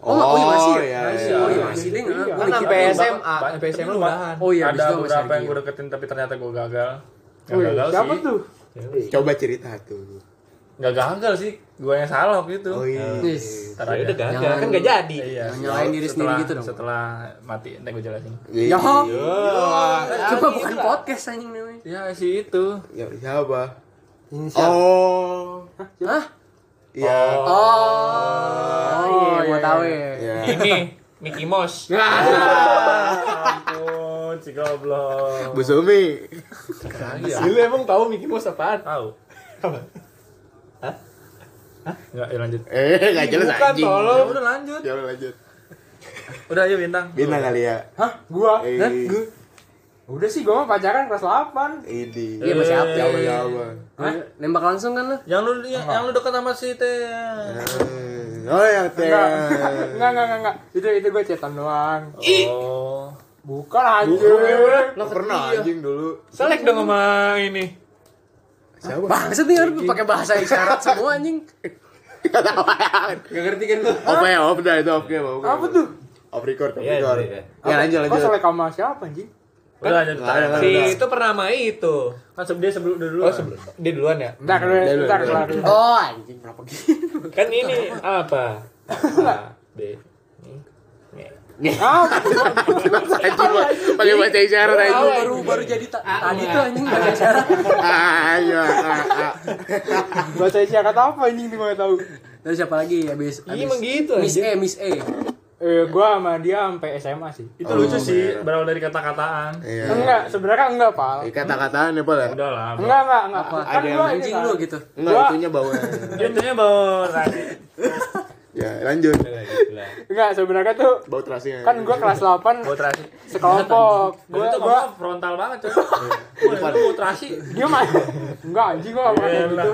Oh, oh, iya, masih ya? iya, Masih, iya. oh, iya, masih deh. enggak. kan sampai SMA sampai Tapi SMA lu lo udahan Oh iya, abis ada itu sama beberapa yang Sergio. gue deketin tapi ternyata gue gagal. Gak Wih, gagal siapa sih. tuh? Coba cerita tuh. Gak gagal sih. Gue yang salah waktu itu. Oh iya. Yes. Ntar ya aja. udah gagal Yang- kan nggak jadi Iya. Yang nyalain diri sendiri setelah- gitu dong. Setelah mati, nanti gue jelasin. Iya. Coba bukan podcast anjing namanya. Ya si itu. Ya, Siapa? Oh. Hah? Iya. Oh, iya, gua tahu ya. Iya. ini Mickey Mouse Ampun, si goblok. Bu Sumi. Lu emang tahu Mickey Mouse apaan? Tahu. Hah? Enggak, ya lanjut. Eh, enggak jelas bukan anjing. tolong udah lanjut. Ya udah, lanjut. Udah ayo bintang. Bintang kali ya. Hah? Gua? Eh. Hah? Gua? Udah sih gua mah pacaran kelas 8. Ini. Ya Iya, masih apa? Siapa siapa? Hah? Nembak langsung kan lu? Yang lu yang, yang lu dekat sama si teh. Eh, Oh yang teh. Enggak, enggak, enggak, enggak, enggak. Itu itu gua cetan doang. Oh. Bukan anjir. Lo Iya. pernah anjing dulu. selek dong sama ini Siapa? Bangsat nih harus pakai bahasa isyarat semua anjing. Gak ngerti kan lu? Off ya, off dah itu off game. off game. Apa tuh? Off record, off Iya, record. iya, iya. Ya lanjut Kok lanjut. selek sama siapa anjing? Udah lanjut. Nggak ada, nggak Kan si ada. itu pernah sama itu Kan sebelum dia sebelum dulu. oh sebelum dia duluan ya Entar, Iya, entar, dulu. entar. *laughs* Oh, anjing gitu? berapa gini? kan ini *laughs* apa A B ini. Anjing, Pak. pakai bahasa isyarat Baru anjing. Eh, Ah, iya. baru, baru jadi ta- tadi tuh anjing *laughs* bahasa isyarat. Ayo. ah. Ah, Bahasa isyarat apa anjing nih gua nggak tahu. Terus siapa lagi habis Iya, habis emang gitu, Miss anjing. E, Miss E. Eh, gua sama dia sampai SMA sih. Itu lucu sih, berawal dari kata-kataan. Iya. Enggak, sebenarnya enggak, Pak. Kata-kataan ya, Pol ya? Udah lah. bro. Enggak, enggak, enggak. Apa? Kan gua ini Anjing kan. lu gitu. Enggak, Gua- itunya bawahnya. Dia intinya bau tadi. Ya, lanjut. Enggak, sebenarnya tuh Bau terasinya. kan gua kelas 8 Bau terasi. sekelompok. Gua itu gua gua frontal banget coy. Gua itu bau terasi. dia mah enggak anjing gua enggak kayak gitu.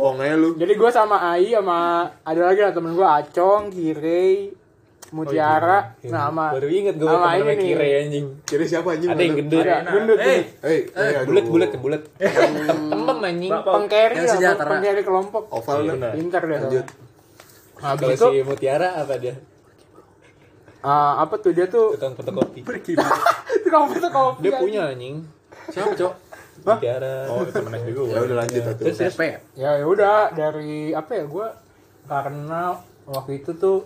bohong aja lu. Jadi gua sama Ai sama ada lagi lah temen gua Acong, Kirei, Mutiara, Oh, iya. nah sama baru inget gue sama pernah ini sama nih. kire anjing Kira siapa anjing? ada yang Malu. gendut Iya. Ada gendut Eh, nih. Hei, eh, aduh. bulat bulat *laughs* bulat tembem anjing Pengkeri Yang lah, sejahtera. pengkeri kelompok. Oval dah. Pintar dia. Lanjut. kalau si mutiara apa dia Ah, apa tuh dia *laughs* tuh tukang fotokopi tukang fotokopi. dia punya anjing Siapa, Cok? mutiara Oh, temen SD gua. Ya udah lanjut atuh. terus terus P. ya ya udah dari apa ya gue karena waktu itu tuh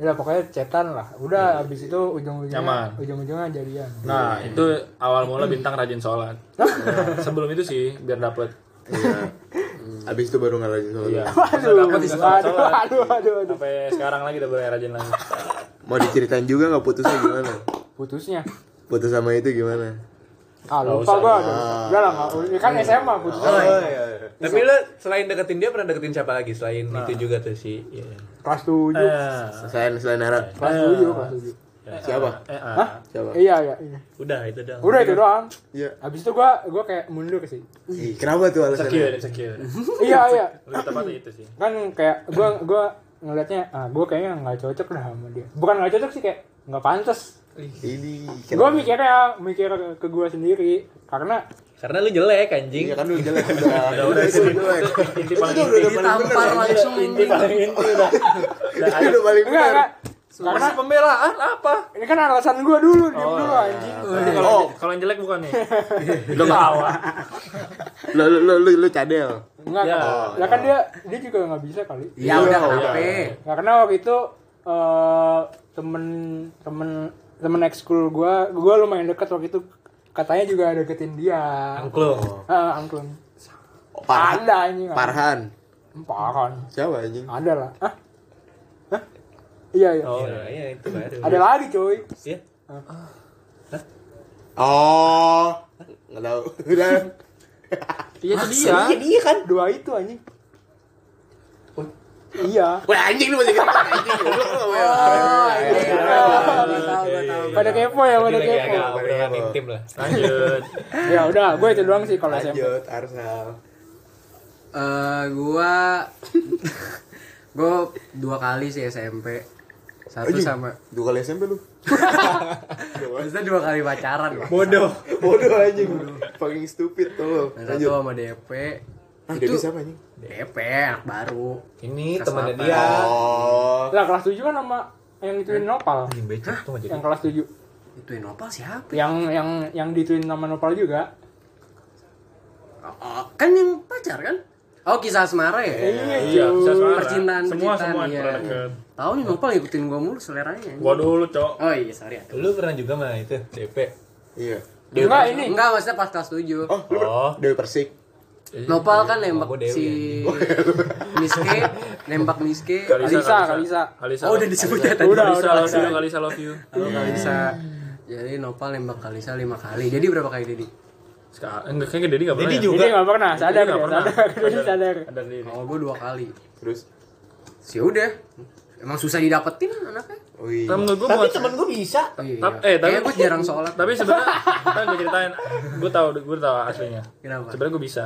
ya pokoknya cetan lah udah habis itu Nyaman. ujung-ujungnya ujung-ujungnya jadian Nah, itu awal mula bintang rajin sholat. *laughs* Sebelum itu sih, biar dapet. Iya. Abis itu baru ngalahin soal. Iya. aduh Dapat aduh sholat. aduh aduh aduh, aduh. Sampai sekarang lagi udah mulai rajin *laughs* lagi. Mau diceritain juga nggak putusnya gimana? putusnya Putus sama itu gimana? ah lupa gue aduh udah lah nggak ya kan SMA Oh, putusnya iya. tapi lo selain deketin dia pernah deketin siapa lagi selain itu juga tuh si iya. kelas tujuh Eh, Selain selain Nara. kelas tujuh kelas tujuh Siapa? Eh, ah. Siapa? Iya, iya. iya. Udah itu dah. Udah itu doang. Iya. Abis itu gua gua kayak mundur sih. Ih, Kenapa tuh Secure, alasannya? secure. iya, iya. Lebih tepatnya itu sih. Kan kayak gua gua ngelihatnya ah gua kayaknya nggak cocok lah sama dia. Bukan nggak cocok sih kayak nggak pantas. Ini Gua kenapa? mikirnya mikir ke- ke gua sendiri karena Karena lu jelek anjing. Iya kan lu jelek udah. udah, Udah itu itu udah. Inti Itu paling udah udah paling Ditampar bener. langsung inti paling inti udah. Itu udah paling enggak Iya, bener. enggak. Karena Pembelaan apa? ini kan alasan gua dulu, diam dulu anjing. Iya. Berarti kalau Oh. kalau yang jelek bukan nih. Udah tawa. Lu lu lu lu, lu cadel. Enggak. Ya. kan. Lah kan dia dia juga nggak bisa kali. Iya, Ya udah Nah, kenapa? karena waktu itu eh temen temen temen ekskul gue gue lumayan deket waktu itu katanya juga deketin dia Angklung. ah angklung Parhan. ada kan. anjing Parhan. parhan Siapa anjing? ada lah ah Hah? iya iya Oh, Nah, iya itu baru. ada lagi cuy Iya. Oh. Enggak tahu. Udah. iya itu dia. dia kan. dua itu anjing iya Oh, Wah anjing lu masih ketawa anjing. Goblok lu apa ya? Gua tahu, gua tahu. pada kepo ya pada Lagi kepo agak obrolan intim lah. Lanjut. *laughs* ya udah gue itu doang sih kalau SMP Lanjut Arsal. Eh, gua *laughs* gua dua kali sih SMP. Satu Anjing. sama Dua kali SMP lu. Maksudnya dua kali pacaran lah. Bodoh. *laughs* Bodoh anjing. Fucking stupid tuh lu. Dan Satu Lanjut. sama DP. Ah, itu Dedi siapa anjing? DP anak baru. Ini Kelas temannya delapan. dia. Oh. lah kelas tujuh kan sama yang dituin nopal Anjing becek tuh jadi. yang kelas tujuh Itu Nopal siapa? yang yang yang dituin sama nopal juga Oh, kan yang pacar kan? Oh, kisah asmara ya? Iya, bisa suara. Percintaan semua percintaan, semua iya. pernah deket. Tahu nih Nopal ngikutin gua mulu seleranya. Gua dulu, Cok. Oh iya, sorry. ya. Lu pernah juga mah itu DP. Iya. Ah, enggak ini Enggak, maksudnya pas kelas 7. Oh, lu Oh. Dewi Persik. Nopal kan nembak Aku Dewi, si Miske, nembak Miske. Kalisa, Kalisa. *laughs* Kalisa. Oh, udah disebutnya tadi. Udah, Kalisa, udah, love you, udah. Kalisa love you. Halo Kalisa. Jadi Nopal nembak Kalisa 5 kali. Jadi berapa kali Dedi? Sekarang enggak kayaknya Dedi enggak pernah. Dedi ya? juga. Ini nggak pernah, Dedi sadar nggak dia, pernah. *laughs* sadar, dia sadar. Ada Dedi. Kalau gua 2 kali. Terus. Sih Ya udah. Emang susah didapetin anaknya. Oh iya. Wih. Nah, menurut gua Tapi buat temen gua bisa. Tap- eh, tapi- Kayaknya gua jarang sholat. tapi sebenarnya kan gue ceritain gue tahu gue tahu aslinya Kenapa? sebenarnya gue bisa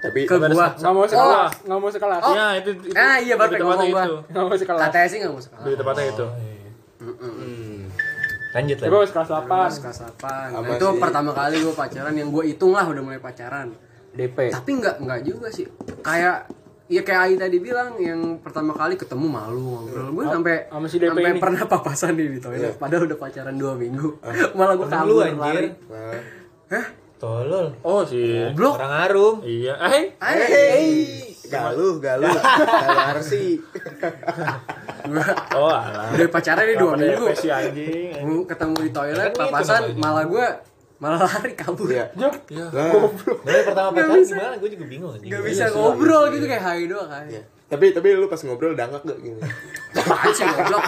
Tapi Ke gua. Nggak mau sekolah, nggak mau sekolah. Oh. ya itu, itu Ah, iya, baru lebih pengen tepatnya ngomong itu Nggak mau sekolah. Katanya sih nggak mau sekolah. lebih tepatnya itu Lanjut lah. Terus kelas 8. Pas kelas 8. Nah, Apa itu sih? pertama kali gua pacaran yang gua hitung lah udah mulai pacaran. DP. Tapi nggak nggak juga sih. Kayak Ya kayak Ai tadi bilang yang pertama kali ketemu malu ngobrol. Gue sampai sama si DP sampai ini. pernah papasan nih Iya. di toilet. Padahal udah pacaran dua minggu. Ah. Malah gue Temen lu kabur anjir. lari. Nah, Tolol. oh sih Blok. Orang harum. iya eh Hey, galuh, galuh, galuh arsi. oh alah Udah pacaran nih dua Kenapa minggu. DP si anjing Gua ketemu di toilet Kan gitu papasan namanya. malah gue malah lari kabur. Iya. Nah, Dari pertama pacaran gimana? Gue juga bingung anjing. Gak bisa ngobrol gitu kayak hai doang kan. iya. Tapi tapi lu pas ngobrol dangak gak gini? *laughs* Apaan sih goblok?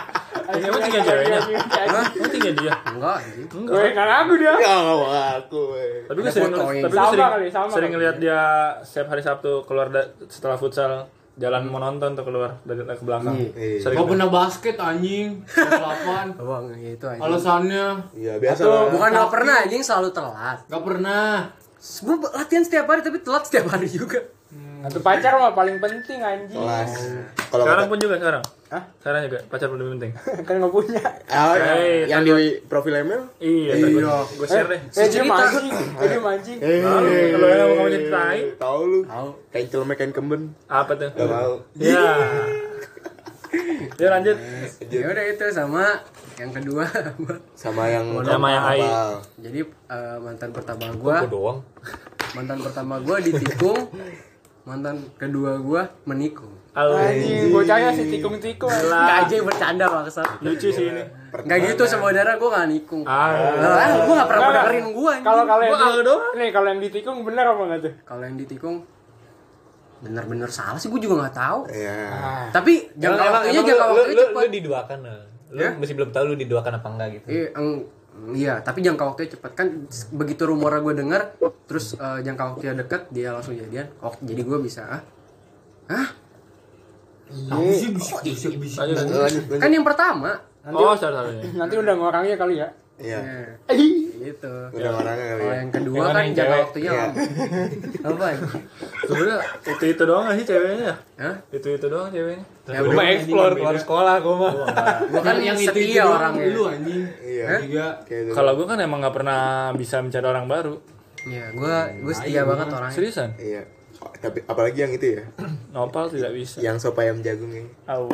emang gitu tinggal ceweknya Hah? emang tinggal dia Enggak anjing. Gue kan aku dia. Ya mau aku. eh. tapi gue Ada sering fotonya. tapi gue Sama sering kali, sama sering kali. ngeliat dia setiap hari sabtu keluar da- setelah futsal jalan mau nonton tuh keluar dari ke belakang Iya. sering Gak pernah basket anjing. Kelapan. Abang ya itu anjing. Alasannya Iya biasa lah. Bukan gak pernah anjing selalu telat. gak pernah. Gue latihan setiap hari tapi telat setiap hari juga. Satu pacar mah paling penting anjing. kelas. Kalau sekarang kata- pun juga sekarang sekarang juga pacar pun lebih penting kan nggak punya. Ah, Hey, yang di profil email? iya gue share deh Eh dia mancing, eh, dia mancing. Iya. Eh, kalau yang mau kamu ceritain tahu lu. Iya. Kain celemek kain kemben. apa tuh Gak mau. ya ya lanjut Ya udah itu sama yang kedua. *laughs* Sama yang Sama yang Ai. Abal. Jadi eh, mantan pertama Gue gue, doang. mantan pertama gue ditikung, mantan kedua gue menikung. Anjing, bocahnya si tikung-tikung. anjing. Nggak aja bercanda bangsa. lucu sih ini Nggak gitu saudara gue nggak nikung. ah Lah, gue nggak pernah dengerin gue. anjing. Kalau kalau yang Gua di- Aldo doang. nih kalau yang ditikung bener apa enggak tuh? Kalau yang ditikung bener-bener salah sih gue juga nggak tahu. Iya. Tapi jangka Eh. Emang- waktunya emang jangka lu- waktunya lu, lu, cepat. lu diduakan nah. Lu Ya? masih belum tahu lu diduakan apa enggak gitu. Iya, eng- iya, tapi jangka waktunya cepat kan s- begitu rumornya gue dengar, terus eh, jangka waktunya deket dia langsung jadian. Oh, jadi gue bisa ah. Hah? Apa sih bisik bisik bisik? Kan yang pertama Oh, salah-salahnya. Nanti udah orangnya kali ya. Iya. gitu Iya. Iya, Udah orangnya kali kalau ya. yang kedua kan jangka waktunya lama apa Sebenernya itu itu doang gak sih ceweknya? Hah? Itu itu doang ceweknya. ya gua, Explore keluar sekolah gue mah. gua kan yang setia orangnya lu anjing Iya. Kayak itu. Kalau gue kan emang gak pernah bisa mencari orang baru. ya gua gua setia banget Nah, orangnya Seriusan? Iya. Oh, Tapi apalagi yang itu *laughs* ya, Nopal tidak bisa. yang sop ayam jagung ini. Au.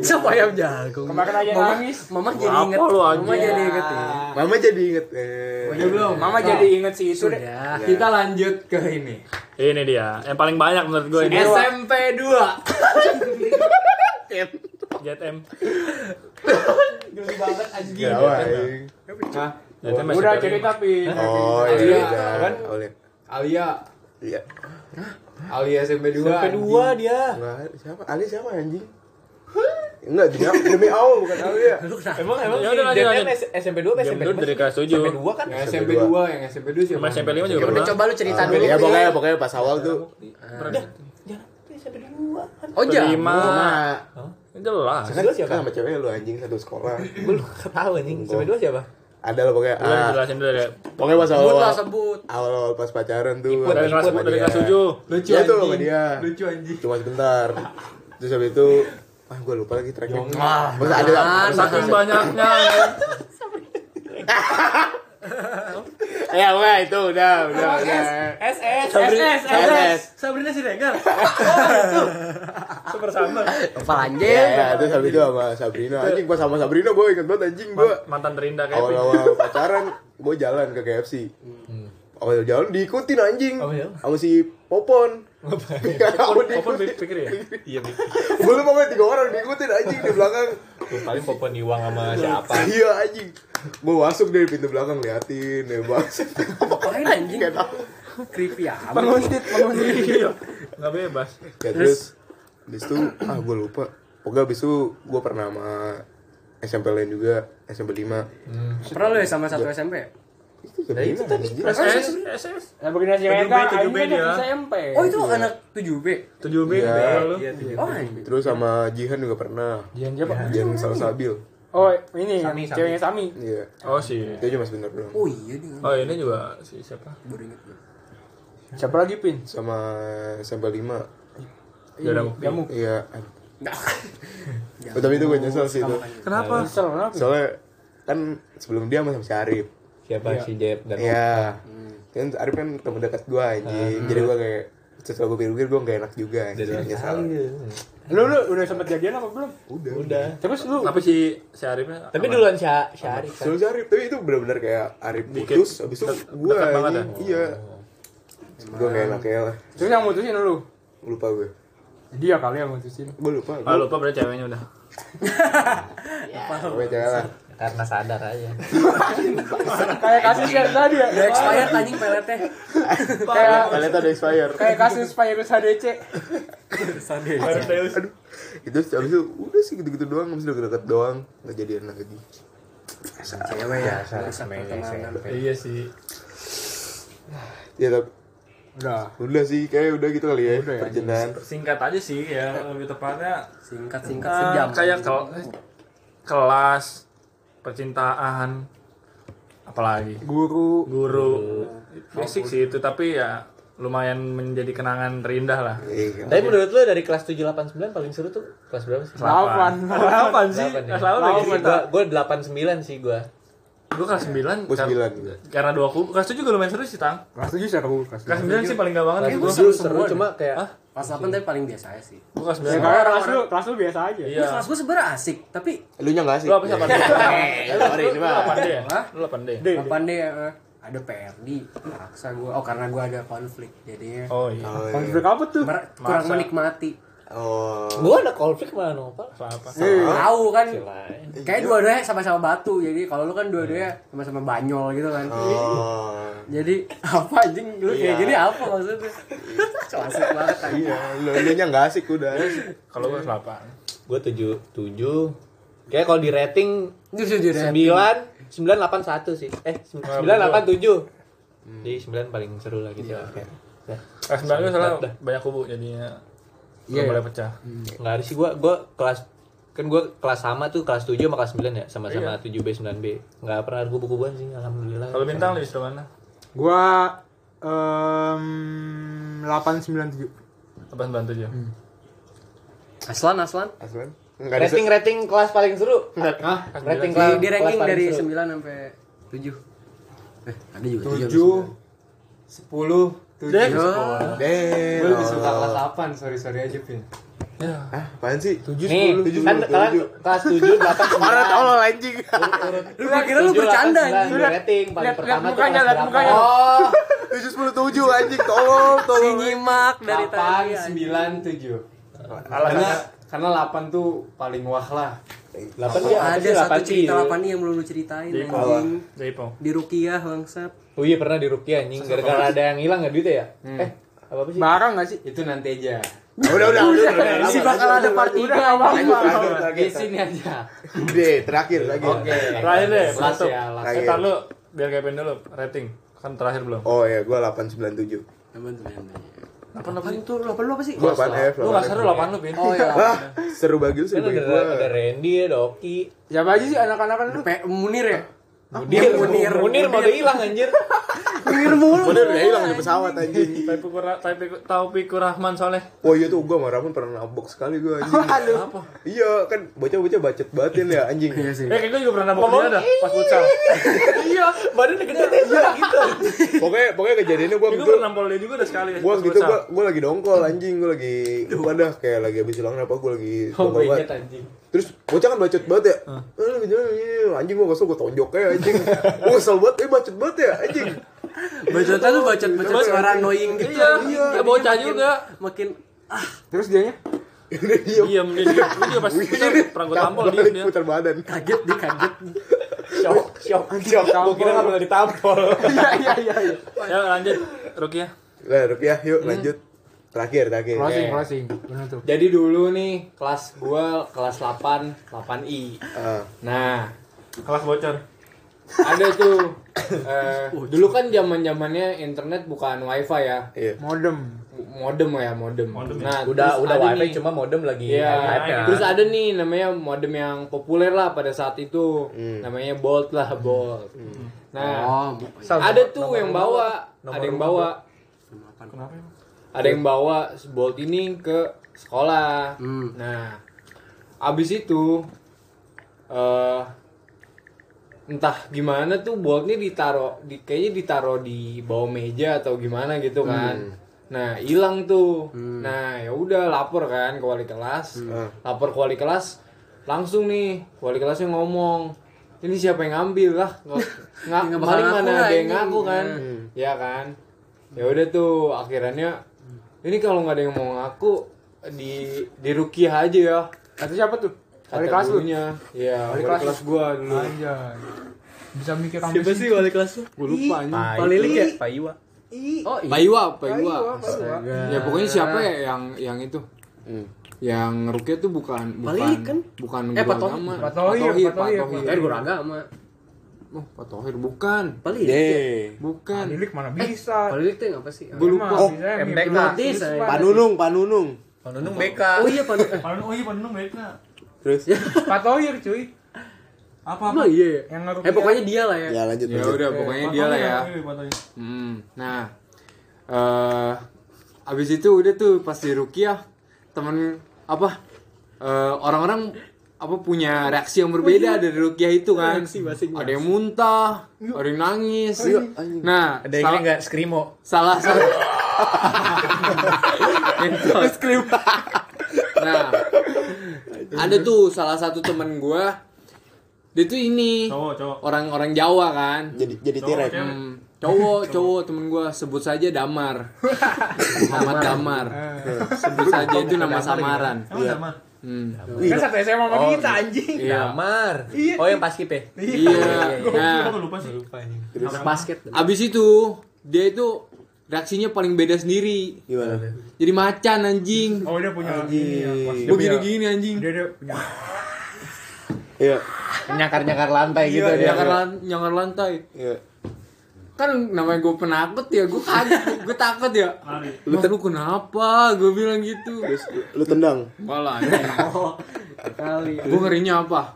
siapa yang jago Kemarin aja Iya. nangis. mama jadi inget lu anjing? mama jadi inget ya Mama jadi inget. Eh, belum Mama jadi inget si itu Iya. Ya. deh. udah kita lanjut ke ini Ini dia, yang paling banyak menurut gue ini. SMP 2 JTM. Jawa. eh. JTM masih Udah paling- cerita tapi Oh iya. Iya, kan? iya. Oleh. Alia Iya. Alia SMP 2 Sampai dua dia. Enggak, siapa? Ali siapa anjing? Enggak, demi demi Allah bukan Ali ya. Emang emang Ya ya udah, lanjut, lanjut. SMP 2 Jam SMP dulu dari kelas tujuh. SMP 2 kan. yang SMP 2 yang SMP 2 Sama siapa SMP 5 juga Ya udah pernah. coba lu cerita dulu Ya Pri. pokoknya pokoknya pas awal tuh SMP 2. oh jago Lima. Nah, Jelas. kan Lu siapa? sama cewek lu anjing satu sekolah. Gue lu *laughs* nggak tahu anjing. SMP 2 siapa? Ada lah pokoknya. Gue ah, jelasin dulu deh. Pokoknya pas sebut awal lah sebut awal pas pacaran tuh. Dari kelas sama dari dia. kelas 7. lucu Ya tuh sama anjing dia. lucu anjing Cuma sebentar. Terus habis itu ah gue lupa lagi tracknya. Ah, Masa ada Jangan, Masa- Saking banyaknya. Ya weh itu udah udah. udah. SS. Sabri- Beres. Sabrina *laughs* Siregar. Super sama. apa Ya, lanjut ya, terus habis itu sama Sabrina anjing gua sama Sabrina gue inget banget anjing gue Mantan terindah Oh, kayak awal-awal pacaran gue jalan ke KFC awal jalan diikutin anjing sama si Popon *laughs* Popon Popon pikir ya? Iya, Bi. gue lupa banget tiga orang diikutin anjing di belakang Lu paling popon iwang sama siapa? iya anjing gue masuk dari pintu belakang liatin ya bas ngapain anjing Gak tau. creepy amat menguntit, menguntit. Nggak bebas. ya terus abis itu ah gue lupa pokoknya abis itu gue pernah sama SMP lain juga SMP 5 pernah lu ya sama satu SMP nah, itu tadi SS, SS. Nah, begini si Eka, ini 7B, kan 7B dia. dari SMP. oh itu anak 7 B 7B Iya. lu. oh anjing terus sama Jihan juga pernah Jihan siapa? Jihan Salsabil Oh, ini ceweknya Sami. iya Oh sih. itu cuma sebentar doang oh iya dia Oh ini juga si siapa? Siapa lagi iya. Pin? sama sampel 5 Ya udah Jamu. iya Oh, *laughs* tapi itu gue nyesel sih itu Kenapa? Kesel, kenapa? soalnya kan sebelum dia sama sama si Arif Siapa si Jeb dan iya kan Arif kan teman dekat gue anjing Hmm. jadi gue kayak setelah gue pikir-pikir gue gak enak juga anjing nyesel Lu lu udah sempet jadian apa belum? udah Udah. Terus lu Tapi si si Arifnya Tapi duluan Sya- Syarif. soalnya si Arif tapi itu benar-benar kayak Arif Dikit. putus abis itu Dek- gue dekat banget ya? Oh. anjing iya gue gak enak ya lah terus yang mutusin lu. lupa gue Dia kali yang mutusin. gue lupa Ah gue lupa berarti ceweknya udah. lupa cewek lah Karena sadar aja. Kayak kasus yang tadi ya. udah expired anjing peletnya Kayak Paleta udah expire kayak kasus virus HDC. *laughs* Aduh, itu abis itu udah sih gitu-gitu doang, abis itu deket doang, nggak jadian lagi. cewek ya pertemanan Iya sih. Ya tapi Udah. udah sih, kayak udah gitu kali ya, perjalanan. Singkat aja sih ya lebih tepatnya. singkat singkat eh, sejam kayak kel- kelas percintaan apalagi Guru. guru fisik Iya. sih itu tapi ya lumayan menjadi kenangan terindah lah. Iya. Tapi menurut lu dari kelas 7 8 9 paling seru tuh kelas berapa sih? Lapan. Delapan sih. Delapan ya? Selalu lagi kita. Gue 8 9 sih gue. Gue kelas sembilan. Gue sembilan juga. Karena dua kubu. Kelas tujuh juga lumayan seru sih tang. Kelas tujuh seru. Kelas Kelas sembilan sih paling gak banget. Eh, Kelas Gue gue seru, seru cuma Hah? kayak pas 8 tapi paling biasa aja sih Gue Ya, kelas sembilan. karena kelas lu, kelas lu biasa aja. Iya. Terus kelas gue sebenernya asik tapi Lu nya nggak sih? Lu apa sih? Apa *laughs* Iya. Eh, Sorry, ini mah. 8D ya? Lu 8D. apa deh eh, ada PRD paksa gue oh karena gue ada konflik jadinya Oh iya. Oh, iya. Konflik apa tuh? mer- kurang menikmati Oh. gue ada konflik sama Nopal. Apa-apa. tahu kan Lain. kayak dua-duanya sama-sama batu jadi kalau lu kan dua-duanya sama-sama banyol gitu kan Oh. jadi *laughs* apa anjing lu kayak gini apa maksudnya asik banget anjing Iya, lu lu nya nggak asik udah. Kalau gue kelas 8. Gue 7 7. Kayak kalau di rating itu jujur ya 9 981 sih. Eh 987. Jadi 9 paling seru lah gitu. Kayak, ya. Kelas 9 gue salah banyak kubu jadinya. Iya. Mulai pecah. Nggak ada sih gue gue kelas kan gue kelas sama tuh kelas 7 sama kelas 9 ya sama-sama 7B 9B nggak pernah gue buku-bukuan sih alhamdulillah Kalau bintang lebih seru mana? Gua em 897. Apa sembilan tujuh? Aslan, Aslan. Aslan? Enggak ada. rating rating kelas paling seru rating Di, kelas di ranking kelas paling dari seru. 9 sampai 7. Eh, ada juga 7. 7 10 Dek. 7 Damn. Oh. Gue lebih suka kelas 8, sorry-sorry aja, Pin Hah, apaan sih? nih kan kalian kelas 7 *laughs* 8 Mana tau lo anjing. Lu gua kira lu bercanda anjing. anjing rating paling Lihat lihat pertama tuh mukanya, kelas lihat berapa? mukanya. Oh, Oh, Tujuh sepuluh tujuh anjing, tolong, Si tolong. nyimak dari 8, tadi. 9, 7 Karena, karena 8 tuh paling wah lah 8 ya Ada satu cerita 8 8 nih yang belum lu ceritain anjing. Jaipo. Di Rukiah bangsat. Oh iya pernah di Rukia anjing gara-gara ada yang hilang enggak duitnya ya? Eh, apa apa sih? Barang gak sih? Itu nanti aja Ah, Udah, udah, udah, udah. Si bakal ada part 3. Terakhir, terakhir, Gesin aja terakhir. Deh, terakhir, terakhir. Oke Terakhir deh, Last penutup. ya, last. Eh, tar lu, biar kayak Pin dulu, rating. Kan terakhir belum. Oh ya, gue 897 Apaan tuh? Lu apa lu apa sih? Gue 8F Lu gak seru 8 lu, Pin. Oh *laughs* ya. Hah, seru bagi lu, Kan seru bagi ada, ada gue Randy, ada Oki, Siapa aja sih anak-anakan lu? Pe- Munir ya? Munir, Munir, Munir mau udah hilang anjir. Munir mulu. Bener, dia hilang di pesawat anjing Taufikur Taufikur- Taufikur Rahman soleh. Wah iya tuh, gue sama Rahman pernah nabok sekali gue anjing Apa? Iya, kan bocah-bocah bacet banget ya anjing Iya sih. Eh, kayak gue juga pernah nabok dia dah, pas *laughs* futsal. Iya, badannya gede deh gitu. Pokoknya, pokoknya kejadiannya gue Kayak gue gitu pernah nampol dia juga dah sekali. Gue pas gitu, futsal. gue gue lagi dongkol anjing Gue lagi, gue dah kayak lagi habis hilang apa Gue lagi Oh, dongkol gue inget banget anjing Terus bocah kan bacot banget ya Eh, lu jangan, iya, Anjing gue kesel, gue tonjok aja anjing Gue kesel banget, eh bacot banget ya anjing *laughs* Bacotnya tuh bacot-bacot suara annoying gitu. Iya, anjing. ya iya, Jadi bocah makin- juga. Makin Terus dianya? Iya, Diam dia. dia. Gue juga pas futsal pernah gue tampol dia dia. Putar badan kaget dikaget. Syok, syok. Gue kira enggak pernah ditampol. Ya lanjut, Rukia. Lah, rupiah, yuk lanjut Terakhir, terakhir Closing, closing. Penutup. Jadi dulu nih, kelas gue kelas 8, 8I Ah. Nah, Kelas bocor. ada tuh eh, Uh, dulu kan zaman zamannya internet bukan wifi ya Iya. Modem. modem ya modem, Modem ya. nah Udah terus udah ada wifi nih- cuma modem lagi Iya, hype kan. terus ada nih namanya modem yang populer lah pada saat itu Hmm. namanya bolt lah bolt nah Oh, ada tuh yang bawa ada yang bawa Kenapa emang? ada yang bawa bolt ini ke sekolah Hmm. nah abis itu eh entah gimana tuh boltnya ditaro di kayaknya ditaro di bawah meja atau gimana gitu kan nah hilang tuh nah ya udah lapor kan ke wali kelas Ah. lapor ke wali kelas langsung nih wali kelasnya ngomong ini siapa yang ngambil lah nggak Nggak nggak bakal Nah, paling ngaku mana lah ada yang ini. ngaku kan ya kan ya udah tuh akhirnya ini kalau nggak ada yang mau ngaku di di rukiah aja ya Atau siapa tuh? Kata kelas lu? gurunya. Iya, wali kelas, kelas. gua dulu. Anjay. Bisa mikir kamu Siapa sih wali kelas lu? Gua lupa anjing. Nah, Pak Lilik ya? Pak Iwa. Oh, iya. Paiwa, Paiwa. Ya pokoknya Nah. siapa ya yang yang itu? Hmm. Yang rukia tuh bukan bukan Lilik kan? bukan Eh, gua Pak Tohir. nama. Pak Tohir, Pak Tohir, Pak Pak Dari Tohir. guru agama. Oh, Pak Tohir bukan. Paling yeah. Bukan. Lilik mana bisa? Oh, Paling itu yang apa sih? Gua lupa. Emang, bisa, MBK. hipnotis, Pak Pak. Panunung, Panunung. Nunung BK. Oh iya pan. eh, Panen oh iya panen mereka. Terus Pak Tohir cuy. Apa? Emang iya. ya? Yang ngerupiah. *laughs* Eh pokoknya dia lah ya. ya lanjut Ya lanjut. udah pokoknya dia lah Iya, ya. Hmm. Nah, eh abis itu udah tuh pas di Rukiah temen apa eh, orang-orang apa punya reaksi Oh, yang iya. berbeda dari Rukiah itu kan. Ada yang muntah, ada yang nangis. Oh, Iya. Nah, Ada yang ini salah, enggak skrimo. *laughs* salah salah. Entot. nah, ada tuh salah satu temen gua dia tuh ini Cowok, cowok. orang-orang Jawa kan Jadi jadi Cowok, tirek. cewek. Hmm, cowok cowok temen gue sebut saja Damar Muhammad Damar Eh. sebut saja itu nama samaran Emang sama? Hmm, Kan satu SMA sama kita anjing. iya Damar. Oh yang paskip ya? iya nah Gue lupa sih. Basket. abis itu dia itu reaksinya paling beda sendiri Gimana? jadi macan anjing Oh, dia punya ini ya. Pak. gue gini gini anjing Dia dia punya. Iya. Nyakar-nyakar lantai gitu Iya, dia. nyangkar, lan- nyangkar lantai Iya. kan namanya gue penakut ya gue kaget gue takut ya Mas, lu kenapa gue bilang gitu Lu tendang. Malah Kali. Gue ngerinya apa?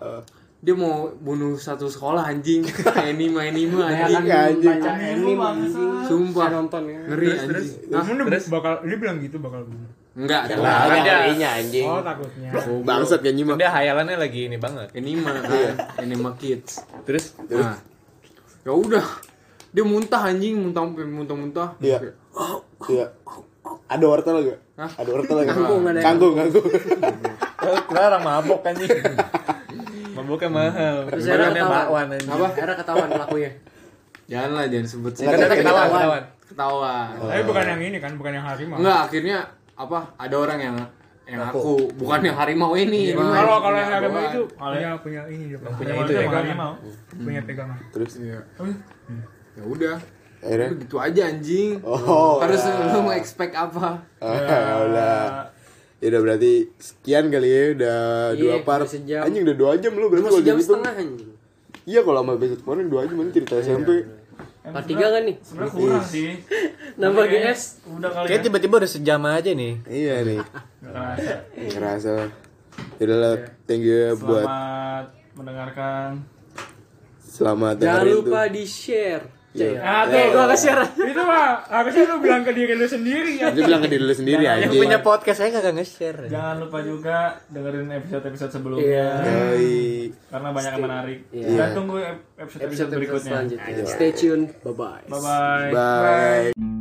Dia mau bunuh satu sekolah anjing. Anima anima anjing. Iya, anjing. Sumpah nonton Ngeri anjing. Hah? bakal dia bilang gitu bakal bunuh. Enggak, Ada ada kalinya Iya. anjing. Oh takutnya. Bangsat kan nyimak. Udah hayalannya lagi ini banget. anima kan. Anima kids. Terus Nah. Ya udah. Dia muntah anjing, muntah sampai muntah-muntah. Iya. Iya. Ada wortel gak? Hah? Ada wortel gak? Kangkung ada yang- Kangkung, kangkung. eh, keluar orang mabok anjing. Maboknya mahal. Terus Terus akhirnya bakwan ketahuan. anjing. Apa? Akhirnya ketahuan pelakunya. Janganlah jangan sebut sih. Nggak ada ketahuan, ketahuan. Ketawa. Tapi bukan yang ini kan, bukan yang harimau. Enggak, akhirnya apa? Ada orang yang yang aku, bukan yang harimau ini. Bang. Kalau kalau yang Punya harimau bawaan. itu punya punya ini dia. Punya itu ya, pegangan. Punya pegangan. Terus Iya. Ya udah, akhirnya begitu aja anjing. Oh. Harus lu mau expect apa? Ah, udah. Ya udah berarti sekian kali ya udah Iya, dua part. udah sejam. Anjing udah dua jam lu berarti Masih kalau jam dihitung. setengah Iya. anjing. Iya kalau sama episode kemarin dua jam ini cerita SMP. Part tiga kan nih? Sebenarnya kurang sih. Nambah GS. Udah kali Kayak gitu. tiba-tiba udah sejam aja nih. Iya nih. ya. Ngerasa. Yaudah lah, thank you ya buat Selamat mendengarkan. selamat Jangan dengerin lupa tuh. di share. Iya. Nah, tuh gua nge-share. Itu mah harusnya lu bilang ke diri lu sendiri ya. Itu bilang ke diri lu sendiri Yang anjing. punya Ya, podcast saya kagak nge-share. Jangan lupa juga dengerin episode-episode Iya. sebelumnya Yoi. karena banyak yang menarik. Iya. Dan tunggu ep- episode-episode Episode Iya. berikutnya. selanjutnya. Stay tune. Bye bye. Bye bye. Bye.